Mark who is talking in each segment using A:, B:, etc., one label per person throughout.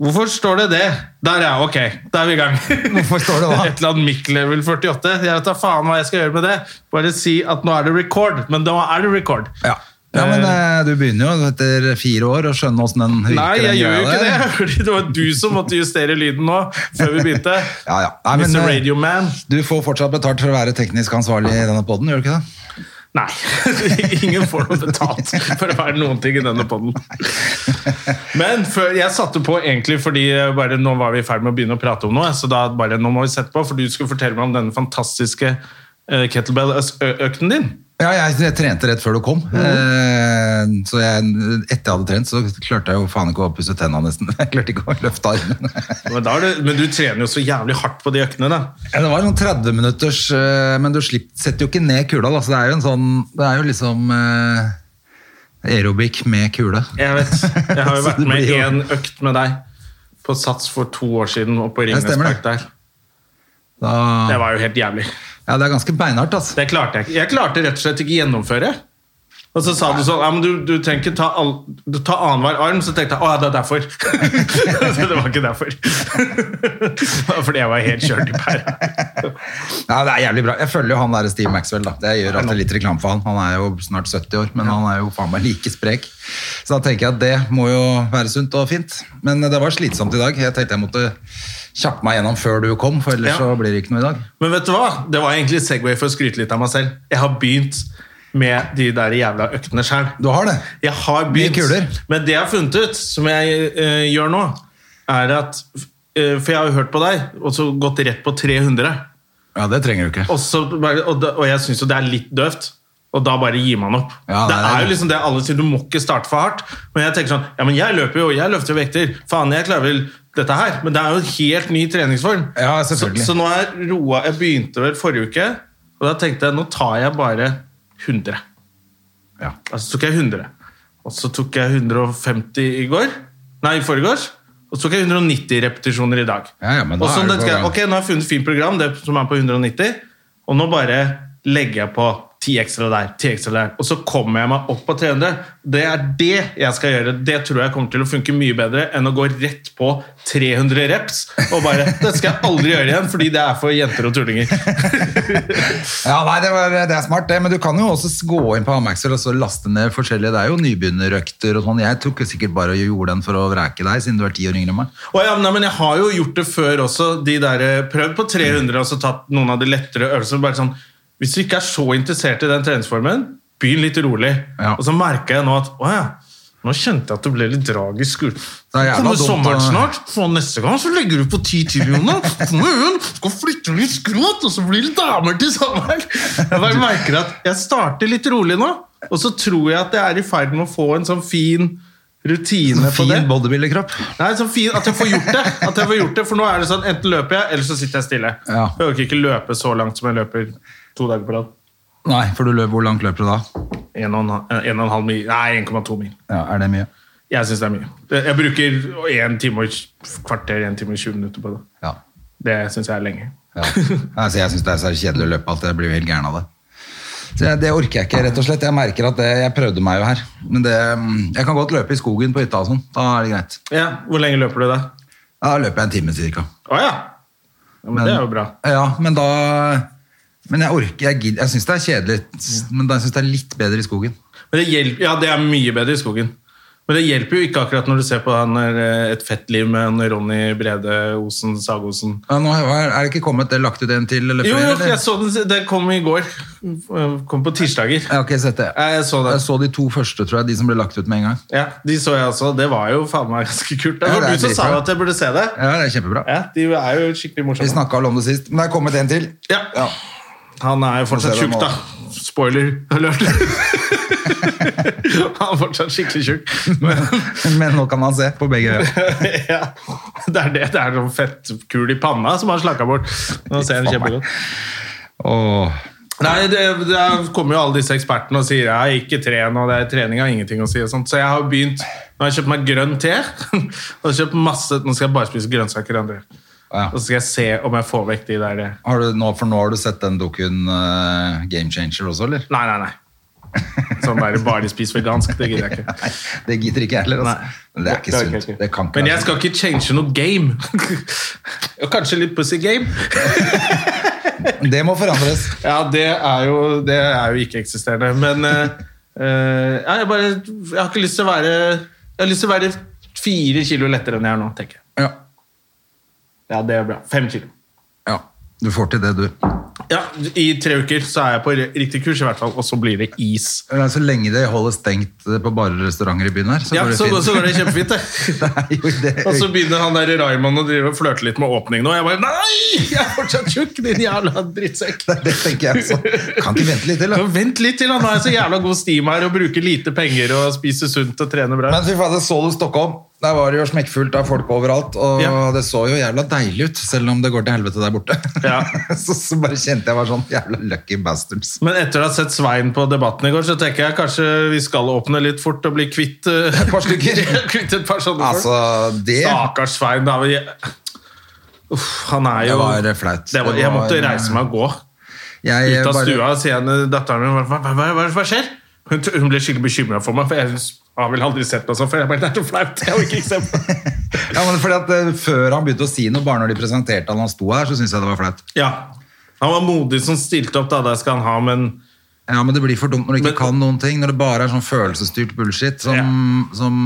A: Hvorfor står det det? Der, ja. Ok, da er vi i gang.
B: Hvorfor står det hva?
A: Et eller annet Mic-level 48. Jeg vet da faen hva jeg skal gjøre med det. Bare si at nå er det record. Men da er det record.
B: Ja. ja, men eh, du begynner jo etter fire år å skjønne åssen den virker.
A: Nei,
B: den
A: jeg gjør
B: greia
A: jo ikke
B: der.
A: det. Fordi det var du som måtte justere lyden nå, før vi begynte.
B: Ja, ja. Nei, men,
A: Mr.
B: eh,
A: Radio Man.
B: Du får fortsatt betalt for å være teknisk ansvarlig i denne poden, gjør du ikke det?
A: Nei, ingen får noe betalt for å være noen ting i denne podden. Men før, jeg satte på egentlig fordi eh, bare nå var vi i ferd med å begynne å prate om noe, så da bare nå må vi sette på, for du skulle fortelle meg om denne fantastiske eh, kettlebell-økten din.
B: Ja, jeg, jeg trente rett før du kom.
A: Mhm.
B: Eh, så jeg, etter jeg hadde trent, så klarte jeg jo faen ikke å pusse tenna nesten. Jeg klarte ikke å løfte armen.
A: Men, da er det, men du trener jo så jævlig hardt på de øktene, da.
B: Ja, det var sånn 30 minutters, eh, men du slipper, setter jo ikke ned kula. Da. Så det er jo en sånn Det er jo liksom eh, aerobic med kule.
A: Jeg vet, jeg har jo
B: Så
A: vært
B: det
A: med i
B: blir jo-
A: en økt med deg på Sats for to år siden, og på Ringnes
B: stemmer
A: Park
B: det.
A: der.
B: Da,
A: Det var jo helt jævlig.
B: ja, det er ganske beinhardt, altså.
A: Det klarte jeg ikke. Jeg klarte rett og slett ikke gjennomføre. Og så sa du sånn, ja, men du, du trenger ikke ta, all, du tar annenhver arm, så tenkte jeg, å ja, det er derfor. så det var ikke derfor. det var fordi jeg var helt kjørt i pæra.
B: Ja, det er jævlig bra. Jeg følger jo han der Steve Maxwell. da. Jeg gjør alltid litt reklame for han. Han er jo snart 70 år, men han er jo faen meg like sprek. Så da tenker jeg at det må jo være sunt og fint. Men det var slitsomt i dag. Jeg tenkte jeg måtte kjappe meg gjennom før du kom, for ellers
A: Ja.
B: så blir det ikke noe i dag.
A: Men vet du hva? Det var egentlig Segway for å skryte litt av meg selv. Jeg har begynt med de der jævla øktene sjøl.
B: Du har det?
A: Jeg har begynt.
B: Med kuler?
A: Men det jeg har funnet ut, som jeg eh, gjør nå, er at eh, For jeg har jo hørt på deg, og så gått rett på 300.
B: Ja, det trenger du ikke.
A: Og, så, bare- og, da- og jeg syns jo det er litt døvt. Og da bare gir man opp.
B: Ja,
A: det,
B: nei, nei,
A: er jo
B: nei.
A: liksom det alle sier, du må ikke starte for hardt. Men jeg tenker sånn, ja, men jeg løper jo, jeg løfter jo vekter. Faen, jeg klarer vel dette her. Men det er jo en helt ny treningsform.
B: Ja,
A: så,
B: selvfølgelig.
A: så nå har jeg roa Jeg begynte vel forrige uke, og da tenkte jeg nå tar jeg bare 100.
B: Ja.
A: Altså så tok jeg 100. Og så tok jeg 150 i går. Nei, i forgårs. Og så tok jeg 190 repetisjoner i dag.
B: Ja, ja, men da
A: og så
B: er du
A: tenkte
B: på
A: jeg,
B: gang.
A: ok, nå har jeg funnet et fint program, det som er på 190, og nå bare legger jeg på 10 ekstra der, 10 ekstra der, og så kommer jeg meg opp på 300. Det er det jeg skal gjøre. Det tror jeg kommer til å funke mye bedre enn å gå rett på 300 reps og bare Det skal jeg aldri gjøre igjen, fordi det er for jenter og tullinger.
B: Ja, nei, det, var, det er smart det, men du kan jo også s- gå inn på Amaxer og så laste ned forskjellige, det er jo nybegynnerøkter og sånn. Jeg tok jo sikkert bare og gjorde den for å vreke deg, siden du er ti år yngre enn meg.
A: Å ja, nei, men jeg har jo gjort det før også. De der, eh, prøvd på 300 og så tatt noen av de lettere øvelsene. Bare sånn, hvis du ikke er så interessert i den treningsformen, begynn litt rolig.
B: Ja.
A: Og så merka jeg nå at å ja, nå kjente jeg at det ble litt drag i skulderen.
B: Det er jævla
A: Kommer
B: dumt
A: sommeren
B: å-
A: snart, så neste gang så legger du på 10 til, Jonas. Kommer hun, skal flytte litt skrot, og så blir det damer til sommeren. Jeg bare merker at jeg starter litt rolig nå, og så tror jeg at jeg er i ferd med å få en sånn fin rutine på
B: Fin
A: det.
B: bodybuilderkropp.
A: Nei, så fint at jeg får gjort det. At jeg får gjort det, For nå er det sånn, enten løper jeg, eller så sitter jeg stille.
B: Ja.
A: Jeg orker ikke løpe så langt som jeg løper to dager på rad.
B: Nei, for du løper, hvor langt løper du da?
A: En og en ha- eh, en og en halv mil. Nei, 1,2 mil.
B: Ja, er det mye?
A: Jeg syns det er mye. Jeg bruker en time og tj- kvarter, en time og 20 minutter på det.
B: Ja.
A: Det syns jeg er lenge.
B: ja. Altså, jeg synes det er så kjedelig å løpe alt, jeg blir jo helt gæren av det. Så jeg, det orker jeg ikke, rett og slett. Jeg merker at det, jeg prøvde meg jo her. Men det, mm, jeg kan godt løpe i skogen på hytta og sånn, da er det greit.
A: Ja, Hvor lenge løper du da?
B: Da løper jeg en time cirka.
A: Å ja. ja men, det er jo bra.
B: Ja, men da... Men jeg orker, jeg, gidder- jeg synes det er kjedelig, men da synes jeg det er litt bedre i skogen.
A: Men det hjelper, ja, det er mye bedre i skogen. Men det hjelper jo ikke akkurat når du ser på han der, eh, Et fett liv med han Ronny Brede Osen, Sagosen.
B: Ja, nå har- er det ikke kommet det lagt ut en til? Eller
A: Jo,
B: flere,
A: jo,
B: eller?
A: jeg så den, den kom i går. Kom på tirsdager.
B: Jeg har ikke sett det.
A: Jeg så den.
B: Jeg så de to første, tror jeg, de som ble lagt ut med en gang.
A: Ja, de så jeg også. Det var jo faen meg ganske kult. Det
B: Ja,
A: var
B: det er
A: du som sa
B: dritbra.
A: at jeg burde se det.
B: Ja, det er kjempebra.
A: Ja, De er jo skikkelig
B: Vi
A: morsomme.
B: snakka vel om det sist, men det er kommet en til.
A: Ja. Han er jo fortsatt
B: Nå ser
A: tjukk,
B: de
A: da. Spoiler alert. Han er fortsatt skikkelig tjukk.
B: Men, men nå kan han se på begge øyne.
A: ja. Det er det, det er sånn fettkul i panna som han slakka bort. Nå ser han kjempegodt.
B: Åh.
A: Nei, det, det kommer jo alle disse ekspertene og sier jeg ikke tren, og det er trening har ingenting å si. og sånt. Så jeg har begynt, nå har jeg kjøpt meg grønn te, og jeg har kjøpt masse, nå skal jeg bare spise grønnsaker. André.
B: Ja.
A: Og så skal jeg se om jeg får vekk de der eh.
B: Har du, nå, for nå har du sett den dokuen eh, Game Changer også, eller?
A: Nei, nei, nei. Sånn der bare spis vegansk, det gidder jeg ikke.
B: Nei, det gidder ikke jeg heller.
A: Nei.
B: Altså. Men det er ikke
A: orker jeg
B: sunt. Det kan ikke
A: Men jeg
B: være
A: skal ikke change noe game. Og kanskje litt pussy game.
B: sunt. Det må forandres.
A: Ja, det er jo, det er jo ikke-eksisterende. Men eh, eh, ja, jeg, bare, jeg har ikke lyst til å være Jeg har lyst til å være fire kilo lettere enn jeg er nå, tenker jeg.
B: Ja.
A: Ja, det er bra. Fem kilo.
B: ja. Du får til det, du.
A: Ja, I tre uker så er jeg på riktig kurs, i hvert fall, og så blir det is.
B: Eller, Så lenge det holder stengt eh, på barer og restauranter i byen her, så
A: Ja,
B: går det
A: så, går-
B: fint.
A: så går det kjempefint, det.
B: Det er jo det.
A: Og så begynner han der Raymond å drive og flørte litt med åpning nå. Jeg bare Nei! Jeg er fortsatt tjukk, din jævla drittsekk.
B: Det, det tenker jeg også. altså, Kan ikke vente litt til, da.
A: Så Vent litt til, han har så jævla god stim her og bruker lite penger og spiser sunt og trener bra.
B: Men fy faen, det så du Stockholm. Der var det jo smekkfullt av folk overalt, og
A: Ja.
B: det så jo jævla deilig ut, selv om det går til helvete der borte.
A: Ja.
B: så, så bare kjente jeg var sånn jævla lucky bastards.
A: Men etter å ha sett Svein på debatten i går, så tenker jeg kanskje vi skal åpne litt fort og bli kvitt eh,
B: Et par stykker.
A: kvitt et par sånne
B: Altså, det,
A: folk. Stakkars Svein. Da, vi, uff, han er
B: det
A: jo
B: var flaut.
A: det var, Jeg måtte reise meg og gå
B: Jeg
A: ut av
B: bare-
A: stua og si henne datteren min hva, hva, hva, hva skjer? Hun, t- hun ble skikkelig bekymra for meg, for jeg har vel aldri sett meg sånn før. Jeg bare, Det er så flaut. Jeg orker ikke se på det.
B: Ja, men fordi at eh, Før han begynte å si noe, bare når de presenterte han og han sto her, så syntes jeg det var flaut.
A: Ja. Han var modig som stilte opp, da. Det skal han ha, men
B: Ja, men det blir for dumt når du ikke
A: Men-
B: kan noen ting. Når det bare er sånn følelsesstyrt bullshit. Som, som,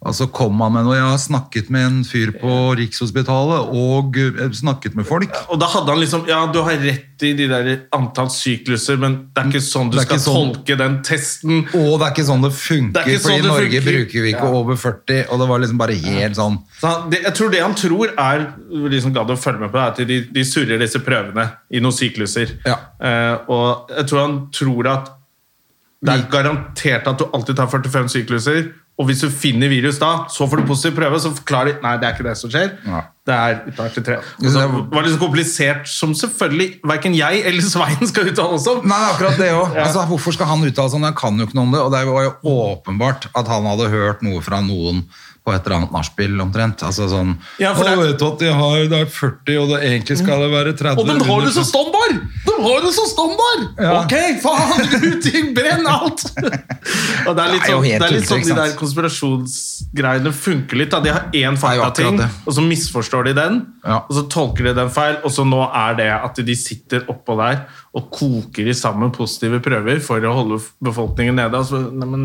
B: og så kom han med noe. Jeg har snakket med en fyr på Rikshospitalet, og eh, snakket med folk.
A: Og da hadde han liksom Ja, du har rett i de der antall sykluser, men det er ikke sånn du
B: Det er
A: skal
B: ikke sånn-
A: tolke den testen.
B: Og det er ikke sånn det
A: Det
B: funker,
A: er ikke sånn
B: fordi
A: det
B: i Norge
A: funker.
B: bruker vi ikke
A: Ja.
B: over 40. Og det var liksom bare helt sånn
A: Så han, det, jeg tror det han tror er De som gadd å følge med på det, er at de, de surrer disse prøvene i noen sykluser.
B: Ja.
A: Eh, og jeg tror han tror at det er
B: Vi-
A: garantert at du alltid tar 45 sykluser, og hvis du finner virus da, så får du positiv prøve, så forklarer de Nei, det er ikke det som skjer.
B: Ja.
A: Det er utenfor 23. Og så
B: Det-
A: var det så komplisert som selvfølgelig verken jeg eller Svein skal uttale oss om.
B: Nei, det er akkurat det òg. Altså, hvorfor skal han uttale seg? om det? Han kan jo ikke noe om det. Og det var jo åpenbart at han hadde hørt noe fra noen på et eller annet nachspiel omtrent. Altså sånn
A: Ja, for
B: «Å,
A: det-
B: vet du at de har, det er 40, og det egentlig skal det være 30
A: Og de har det som standard! De har det som standard!
B: Ja.
A: Ok, faen! Ruting, brenn alt! Og det er litt
B: Det er jo
A: sånn,
B: helt
A: det er
B: tullete,
A: litt sånn
B: ikke
A: de der
B: sant?
A: konspirasjonsgreiene funker litt. Da. De har én
B: er jo
A: faktating,
B: akkurat det.
A: og så misforstår de den.
B: Ja.
A: Og så tolker de den feil, og så nå er det at de sitter oppå der og koker i sammen positive prøver for å holde befolkningen nede. Altså, nei, men,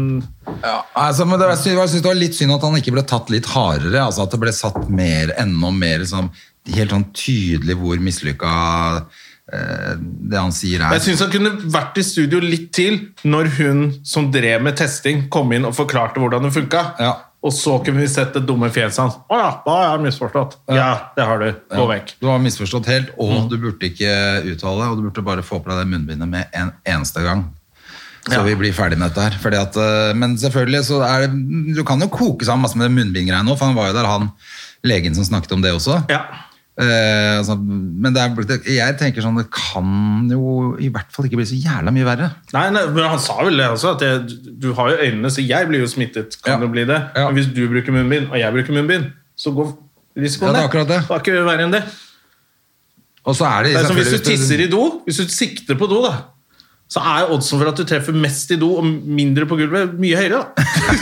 B: Ja, altså, men det, var- jeg synes- jeg synes det var litt synd at han ikke ble tatt litt hardere. Altså At det ble satt mer, enda mer sånn, helt sånn tydelig hvor mislykka eh, det han sier er.
A: jeg syns han kunne vært i studio litt til når hun som drev med testing, kom inn og forklarte hvordan det funka.
B: Ja.
A: Og så kunne vi sett det dumme fjeset hans. Å ja, da har jeg misforstått. Ja, det har du. Gå vekk. Mm.
B: Du har misforstått helt, og du burde ikke uttale, og du burde bare få på deg det munnbindet med en eneste gang. Så vi blir ferdig med dette her. Fordi at, eh, men selvfølgelig så er det Du kan jo koke sammen masse med det munnbindgreiene nå, for han var jo der, han legen som snakket om det også.
A: Ja.
B: Eh, altså, men det er, blitt- jeg tenker sånn Det kan jo i hvert fall ikke bli så jævla mye verre.
A: Nei, nei, men Han sa vel det også, at jeg, du har jo øynene, så jeg blir jo smittet. Kan
B: Ja.
A: det bli det?
B: Ja.
A: Men hvis du bruker munnbind, og jeg bruker munnbind, så går risikoen
B: Ja, det er
A: ned.
B: akkurat det.
A: Det er ikke verre enn det.
B: Og så er det,
A: Det er som hvis du
B: selvfølgelig-
A: tisser i do. Hvis du sikter på do, da, så er oddsen for at du treffer mest i do og mindre på gulvet, mye høyere. da.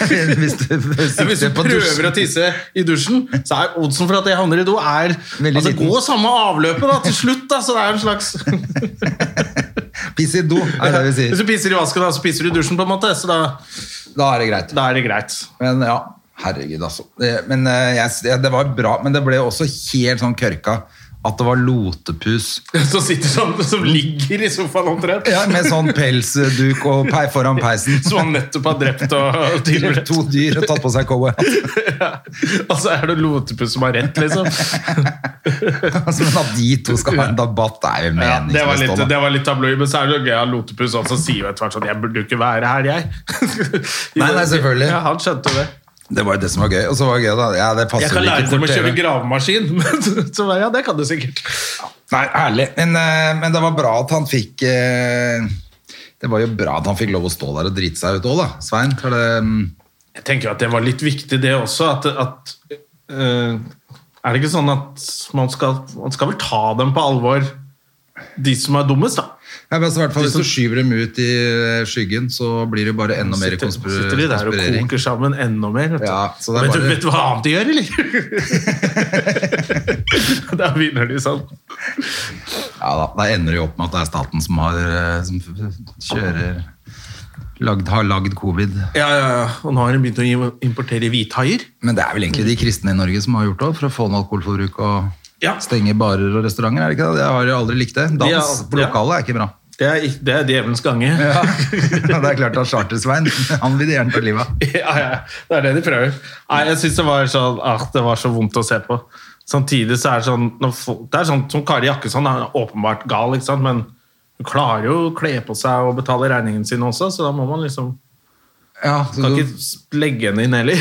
B: Hvis du,
A: Ja, Hvis du
B: sitter på
A: prøver
B: dusjen.
A: å tisse i dusjen, så er oddsen for at jeg havner i do, er
B: Veldig
A: altså,
B: liten.
A: Gå samme avløpet da, til slutt, da, så det er en slags
B: Piss i do, er det vi
A: Hvis
B: sier.
A: du pisser i vasken, da, så pisser du i dusjen, på en måte. Så da,
B: Da er det greit.
A: da er det greit.
B: Men ja, herregud altså. Det, men, eh, jeg, det, det var bra, men det ble også helt sånn kørka at det var lotepus.
A: Som sitter sånn, som ligger i sofaen omtrent.
B: Ja, Med sånn pelsduk og pei foran peisen.
A: Som han nettopp har drept og og
B: Drept
A: tilberedt.
B: to dyr og tatt på seg cowboyhatt.
A: Og så er det Lotepus som har rett, liksom.
B: Altså, men at de to skal ha en debatt, det er jo
A: Ja, det var
B: meningsløst.
A: litt,
B: Donald.
A: det var litt tabloid, men så er det jo gøy at Lotepus også sier jo etter hvert sånn Jeg burde jo ikke være her, jeg.
B: Nei, nei, selvfølgelig.
A: Ja, han skjønte jo det.
B: Det var jo det som var gøy. Og så var det gøy, da. Ja, det passer
A: Jeg kan
B: vel ikke
A: lære
B: for
A: dem å kjøre
B: TV.
A: gravemaskin. Men så bare, ja, det kan du sikkert.
B: Nei, herlig. Men, eh, men det var bra at han fikk eh, Det var jo bra at han fikk lov å stå der og drite seg ut òg, da. Svein. For det, mm,
A: Jeg tenker jo at det var litt viktig, det også. At, at eh, Er det ikke sånn at man skal, man skal vel ta dem på alvor, de som er dummest, da?
B: ja, men altså, i hvert fall, hvis du skyver dem ut i eh, skyggen, så blir det jo bare enda mer
A: Sitter,
B: konspir
A: sitter de der og
B: konspirering.
A: koker sammen enda mer. Vet du,
B: Ja, så det er
A: vet,
B: bare-
A: du, vet du hva annet de gjør, eller? da begynner de sånn.
B: Ja da, da ender det jo opp med at det er staten som har eh, Som f- f- kjører lagd, Har lagd covid.
A: Ja, ja, ja. Og nå har de begynt å im- importere hvithaier.
B: Men det er vel egentlig de kristne i Norge som har gjort det for å få ned alkoholforbruk og
A: Ja.
B: stenge barer og restauranter. er det ikke det? Jeg har jo aldri likt det. Dans
A: Ja, altså,
B: på
A: ja.
B: lokalet er ikke bra.
A: Det er, ikk- det er djevelens gange.
B: Ja. det er klart at Charter-Svein, han vil de gjerne ta livet av.
A: Ja, ja, det er det de prøver. Nei, jeg synes det var sånn ah, Det var så vondt å se på. Samtidig så er det sånn når folk, Det er sånn som Kari Jakkesson er åpenbart gal, ikke sant? men hun klarer jo å kle på seg og betale regningen sin også, så da må man liksom
B: Ja, så du,
A: Kan ikke s- legge henne inn heller.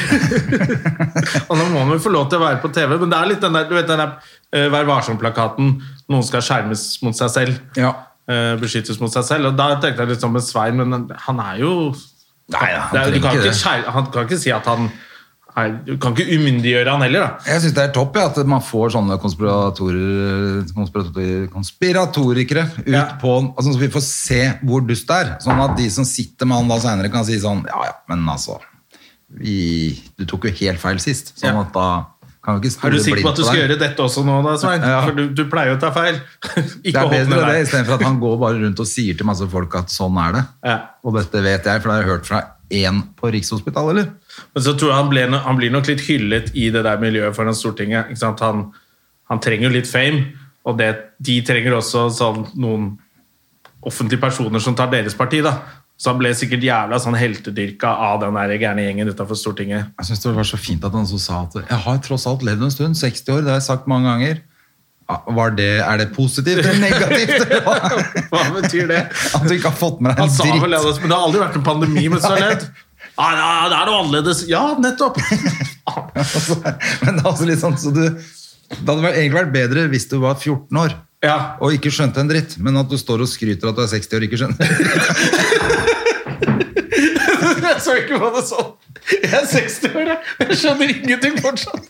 A: og nå må man jo få lov til å være på TV, men det er litt den der, du vet, den der eh, Vær varsom-plakaten. Noen skal skjermes mot seg selv.
B: Ja.
A: eh, beskyttes mot seg selv. Og da tenkte jeg litt sånn med Svein, men han er jo
B: Nei, han
A: det er, du
B: trenger
A: kan ikke,
B: ikke det.
A: skjer- Han kan ikke si at han er, Du kan ikke umyndiggjøre han heller, da.
B: jeg syns det er topp ja, at man får sånne konspiratorer, konspiratorer konspiratorikere ut
A: Ja.
B: på altså, Så vi får se hvor dust det er. Sånn at de som sitter med han da seinere, kan si sånn Ja ja, men altså vi, Du tok jo helt feil sist. Sånn
A: Ja.
B: at da kan vi ikke
A: Er
B: stole
A: du sikker på at du skal gjøre dette også nå, da, Svein?
B: Ja.
A: For du, du pleier jo å ta feil.
B: Det
A: ikke
B: er
A: åpne
B: bedre det,
A: deg.
B: istedenfor at han går bare rundt og sier til masse folk at sånn er det.
A: Ja.
B: Og dette vet jeg, for det har jeg hørt fra én på Rikshospitalet, eller?
A: Men så tror jeg han, ble, no- han blir nok litt hyllet i det der miljøet foran Stortinget. Ikke sant? Han, han trenger jo litt fame, og det, de trenger også sånn, noen offentlige personer som tar deres parti. da. Så han ble sikkert jævla sånn heltedyrka av den der gærne gjengen utafor Stortinget.
B: Jeg synes det var så fint at han så sa at jeg har tross alt levd en stund, 60 år, det har jeg sagt mange ganger. Ja, Var det, er det positivt eller negativt?
A: Hva betyr det?
B: At du ikke har fått med deg
A: Han sa
B: en
A: vel det, altså,
B: dritt.
A: men det har aldri vært en pandemi mens du har levd. Ja, ja, det er noe annerledes. Ja, nettopp!
B: Men det er altså litt sånn, så du, det hadde vært- egentlig vært bedre hvis du var 14 år
A: Ja,
B: og ikke skjønte en dritt, men at du står og skryter at du er 60 år og ikke skjønner.
A: Jeg så ikke på det sånn. Jeg er 60 år, jeg. Jeg skjønner ingenting fortsatt.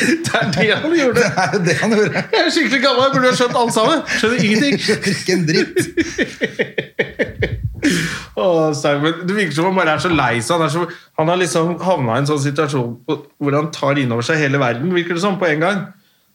A: Det er det han gjorde.
B: Det er jo det han gjorde.
A: Jeg er skikkelig gammel, jeg burde ha skjønt alt sammen. Skjønner ingenting.
B: Skjønner ikke en dritt.
A: Åh, Simon. Det virker som han bare er så lei seg. Han, er så, han har liksom havna i en sånn situasjon på- hvor han tar inn over seg hele verden, virker det som, på en gang.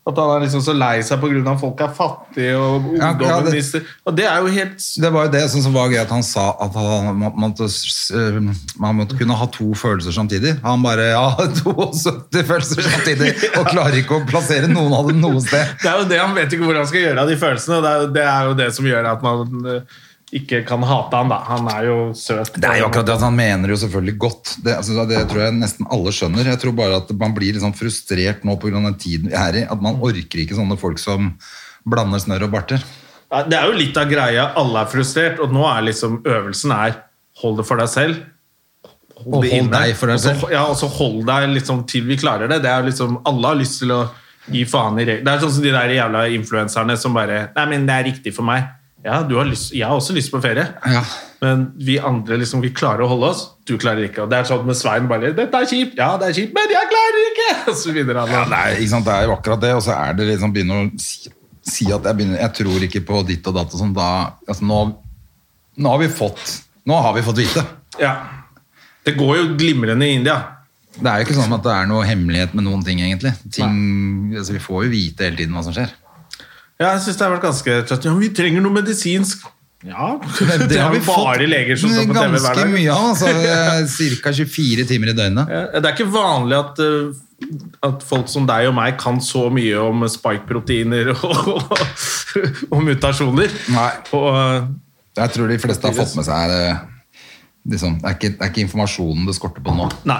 A: At han er liksom så lei seg pga. at folk er fattige og
B: Ja, ja,
A: ungdommen
B: det-
A: mister Og det er jo helt
B: Det var jo det sånn som som var gøy at han sa at han må- måtte, s- eh, man måtte kunne ha to følelser samtidig. Han bare ja, 72 følelser samtidig og klarer ikke å plassere noen av dem noe sted.
A: Det er jo det han vet ikke hvor han skal gjøre av de følelsene. og Det er, jo- det er jo det som gjør at man eh, ikke kan hate han, da. Han er jo søt.
B: Det er jo akkurat det at Han mener jo selvfølgelig godt. Det, altså, det tror jeg nesten alle skjønner. Jeg tror bare at man blir litt sånn frustrert nå pga. den tiden vi er i. At man orker ikke sånne folk som blander snørr og barter.
A: Ja, Det er jo litt av greia. Alle er frustrert, og nå er liksom øvelsen er hold det for deg selv.
B: Og hold
A: det inne,
B: deg for deg
A: og så-
B: selv.
A: Ja, og så hold deg liksom til vi klarer det. Det er jo liksom, Alle har lyst til å gi faen i regler. Det er sånn som de der jævla influenserne som bare Nei, men det er riktig for meg. Ja, du har lyst, jeg har også lyst på ferie.
B: Ja.
A: Men vi andre liksom, vi klarer å holde oss. Du klarer ikke. Og det er sånn med Svein bare 'Dette er kjipt.' 'Ja, det er kjipt, men jeg klarer ikke!' Og så begynner han å-
B: Ja, det er, ikke sant? det er jo akkurat det, og så er det liksom begynner å si, si at jeg, begynner, jeg tror ikke på ditt og datt og sånn. Da, altså nå, nå har vi fått Nå har vi fått vite.
A: ja. Det går jo glimrende i India.
B: Det er jo ikke sånn at det er noe hemmelighet med noen ting, egentlig. Ting, altså, vi får jo vite hele tiden hva som skjer.
A: Ja, jeg synes det har vært ganske trøtt. Ja, men vi trenger noe medisinsk. Ja,
B: Men
A: det, er jo bare leger som står på TV hver
B: Ganske
A: dag.
B: mye av, altså. Ca. 24 eh, timer i døgnet.
A: Ja, Det er ikke vanlig at eh, at folk som deg og meg kan så mye om spike-proteiner og, og mutasjoner.
B: Nei.
A: Og, eh,
B: Jeg tror de fleste har fått med seg eh, liksom, det, er ikke, det er ikke informasjonen det skorter på nå.
A: nei,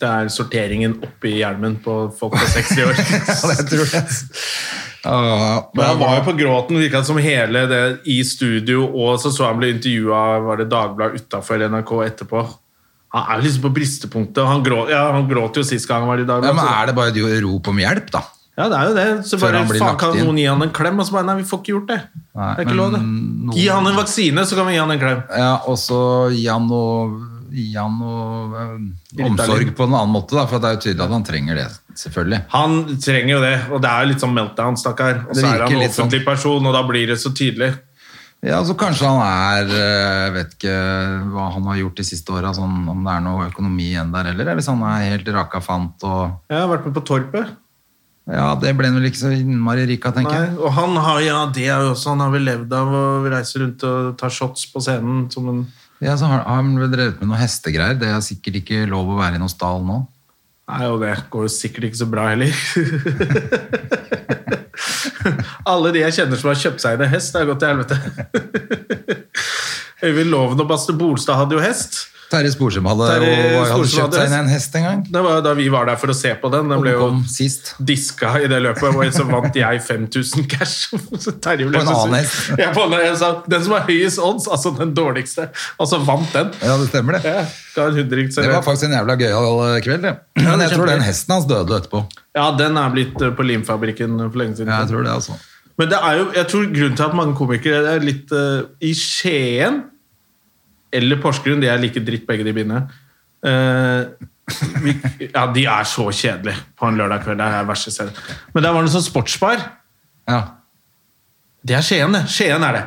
A: det er sorteringen oppi hjelmen på folk på 60 år.
B: Jeg tror det. Ja, altså-
A: Men han var jo på gråten, virka det som hele det i studio, og så så han ble intervjua, var det Dagbladet utafor NRK etterpå. Han er jo liksom på bristepunktet. og Han, grå, ja, han gråt jo sist gang han var i
B: ja,
A: Dagbladet.
B: men
A: så-
B: er det bare et rop om hjelp, da?
A: Ja, det er jo det. Så
B: Før
A: bare
B: han blir
A: faen,
B: lagt
A: kan
B: inn.
A: noen gi han en klem? Og så bare nei, vi får ikke gjort det.
B: Nei,
A: det er ikke lov, det.
B: men noen-
A: Gi han en vaksine, så kan vi gi han en klem.
B: Ja, og så gi han noe, gi han noe eh, omsorg på en annen måte, da, for det er jo tydelig at han trenger det, selvfølgelig.
A: Han trenger jo det, og det er jo litt sånn meltdown, stakkar. Og
B: Det
A: så er
B: virker
A: han en
B: litt sånn.
A: offentlig person, og da blir det så tydelig.
B: Ja, så kanskje han er eh, Jeg vet ikke hva han har gjort de siste åra, sånn, om det er noe økonomi igjen der heller, eller hvis han er helt raka fant og
A: Jeg har vært med på Torpet.
B: Ja, det ble han vel ikke så innmari rik av, tenker
A: Nei,
B: jeg.
A: og han har, ja, det er jo også, han har vel levd av å reise rundt og ta shots på scenen som en
B: Ja, så har har han vel drevet med noe hestegreier. Det er sikkert ikke lov å være i noen stall nå.
A: Nei, og det går jo sikkert ikke så bra heller. Alle de jeg kjenner som har kjøpt seg inn en hest, det har gått til helvete. Øyvind Loven og Baste Bolstad hadde jo hest.
B: Terje Sporsem hadde,
A: Terje
B: og- hadde
A: Sporsem
B: kjøpt
A: hadde
B: seg inn en hest en gang.
A: Det var jo da vi var der for å se på den. Den
B: Og
A: ble
B: den
A: jo
B: kom sist.
A: diska i det løpet, og så vant jeg 5000 cash. Så Terje ble
B: På en
A: så sur.
B: annen hest.
A: Ja, på en annen hest. sa, Den som har høyest odds, altså den dårligste, og så vant den.
B: Ja, det stemmer det.
A: Ja, ga en hundring
B: Det var
A: servert.
B: faktisk en jævla gøyal eh, kveld, det. Men jeg tror den hesten hans døde etterpå.
A: Ja, den er blitt eh, på Limfabrikken for lenge siden.
B: Ja, jeg tror det, altså.
A: Men det er jo, jeg tror grunnen til at mange komikere er litt eh, I Skien eller Porsgrunn, de er like dritt begge de biene. Eh, vi, ja, de er så kjedelige på en lørdag kveld. Det er det verste stedet. Men der var det en sånn sportsbar.
B: Ja.
A: Det er Skien, det. Skien er det.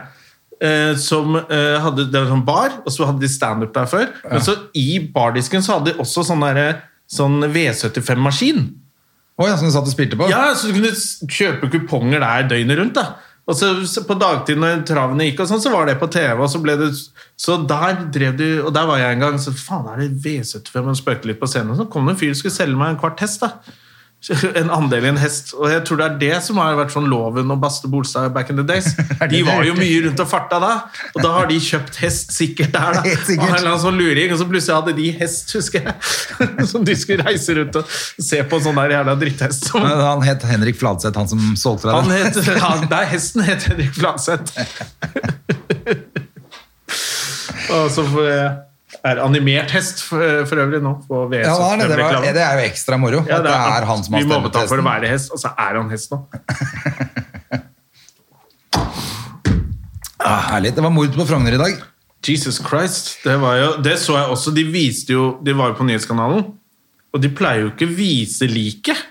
A: Eh, som eh, hadde, Det var sånn bar, og så hadde de standup der før. Men så i bardisken så hadde de også sånn, derre- sånn V75-maskin.
B: Oi, ja, som du satt og spilte på?
A: Ja, så du kunne s- kjøpe kuponger der døgnet rundt, da. Og så så på dagtid når travene gikk og sånn, så var det på TV, og så ble det Så der drev du Og der var jeg en gang, så faen er det V75 og spøkte litt på scenen, og så kom det en fyr og skulle selge meg en kvart hest, da. En andel i en hest. Og jeg tror det er det som har vært sånn Loven og Baste Bolstad back in the days.
B: det
A: De
B: det
A: var jo
B: heter?
A: mye rundt og farta da, og da har de kjøpt hest sikkert der, da.
B: Helt sikkert.
A: Og en eller annen sånn luring, og så plutselig hadde de hest, husker jeg. Som de skulle reise rundt og se på en sånn der jævla dritthest. Som
B: Men Han het Henrik Fladseth, han som solgte deg
A: han
B: den.
A: het, han, nei, hesten het Henrik Flanseth. Og så får jeg- er animert hest for, for øvrig nå på VS.
B: Ja, det er, det. Det, var, det er jo ekstra moro.
A: Ja,
B: at det er han som har
A: Vi
B: stemt
A: mobbet
B: på
A: han for å
B: hesten.
A: være hest, og så er han hest nå.
B: Ja, herlig. Det var mord på Frogner i dag.
A: Jesus Christ. Det, var jo, det så jeg også. De viste jo De var jo på nyhetskanalen, og de pleier jo ikke vise liket.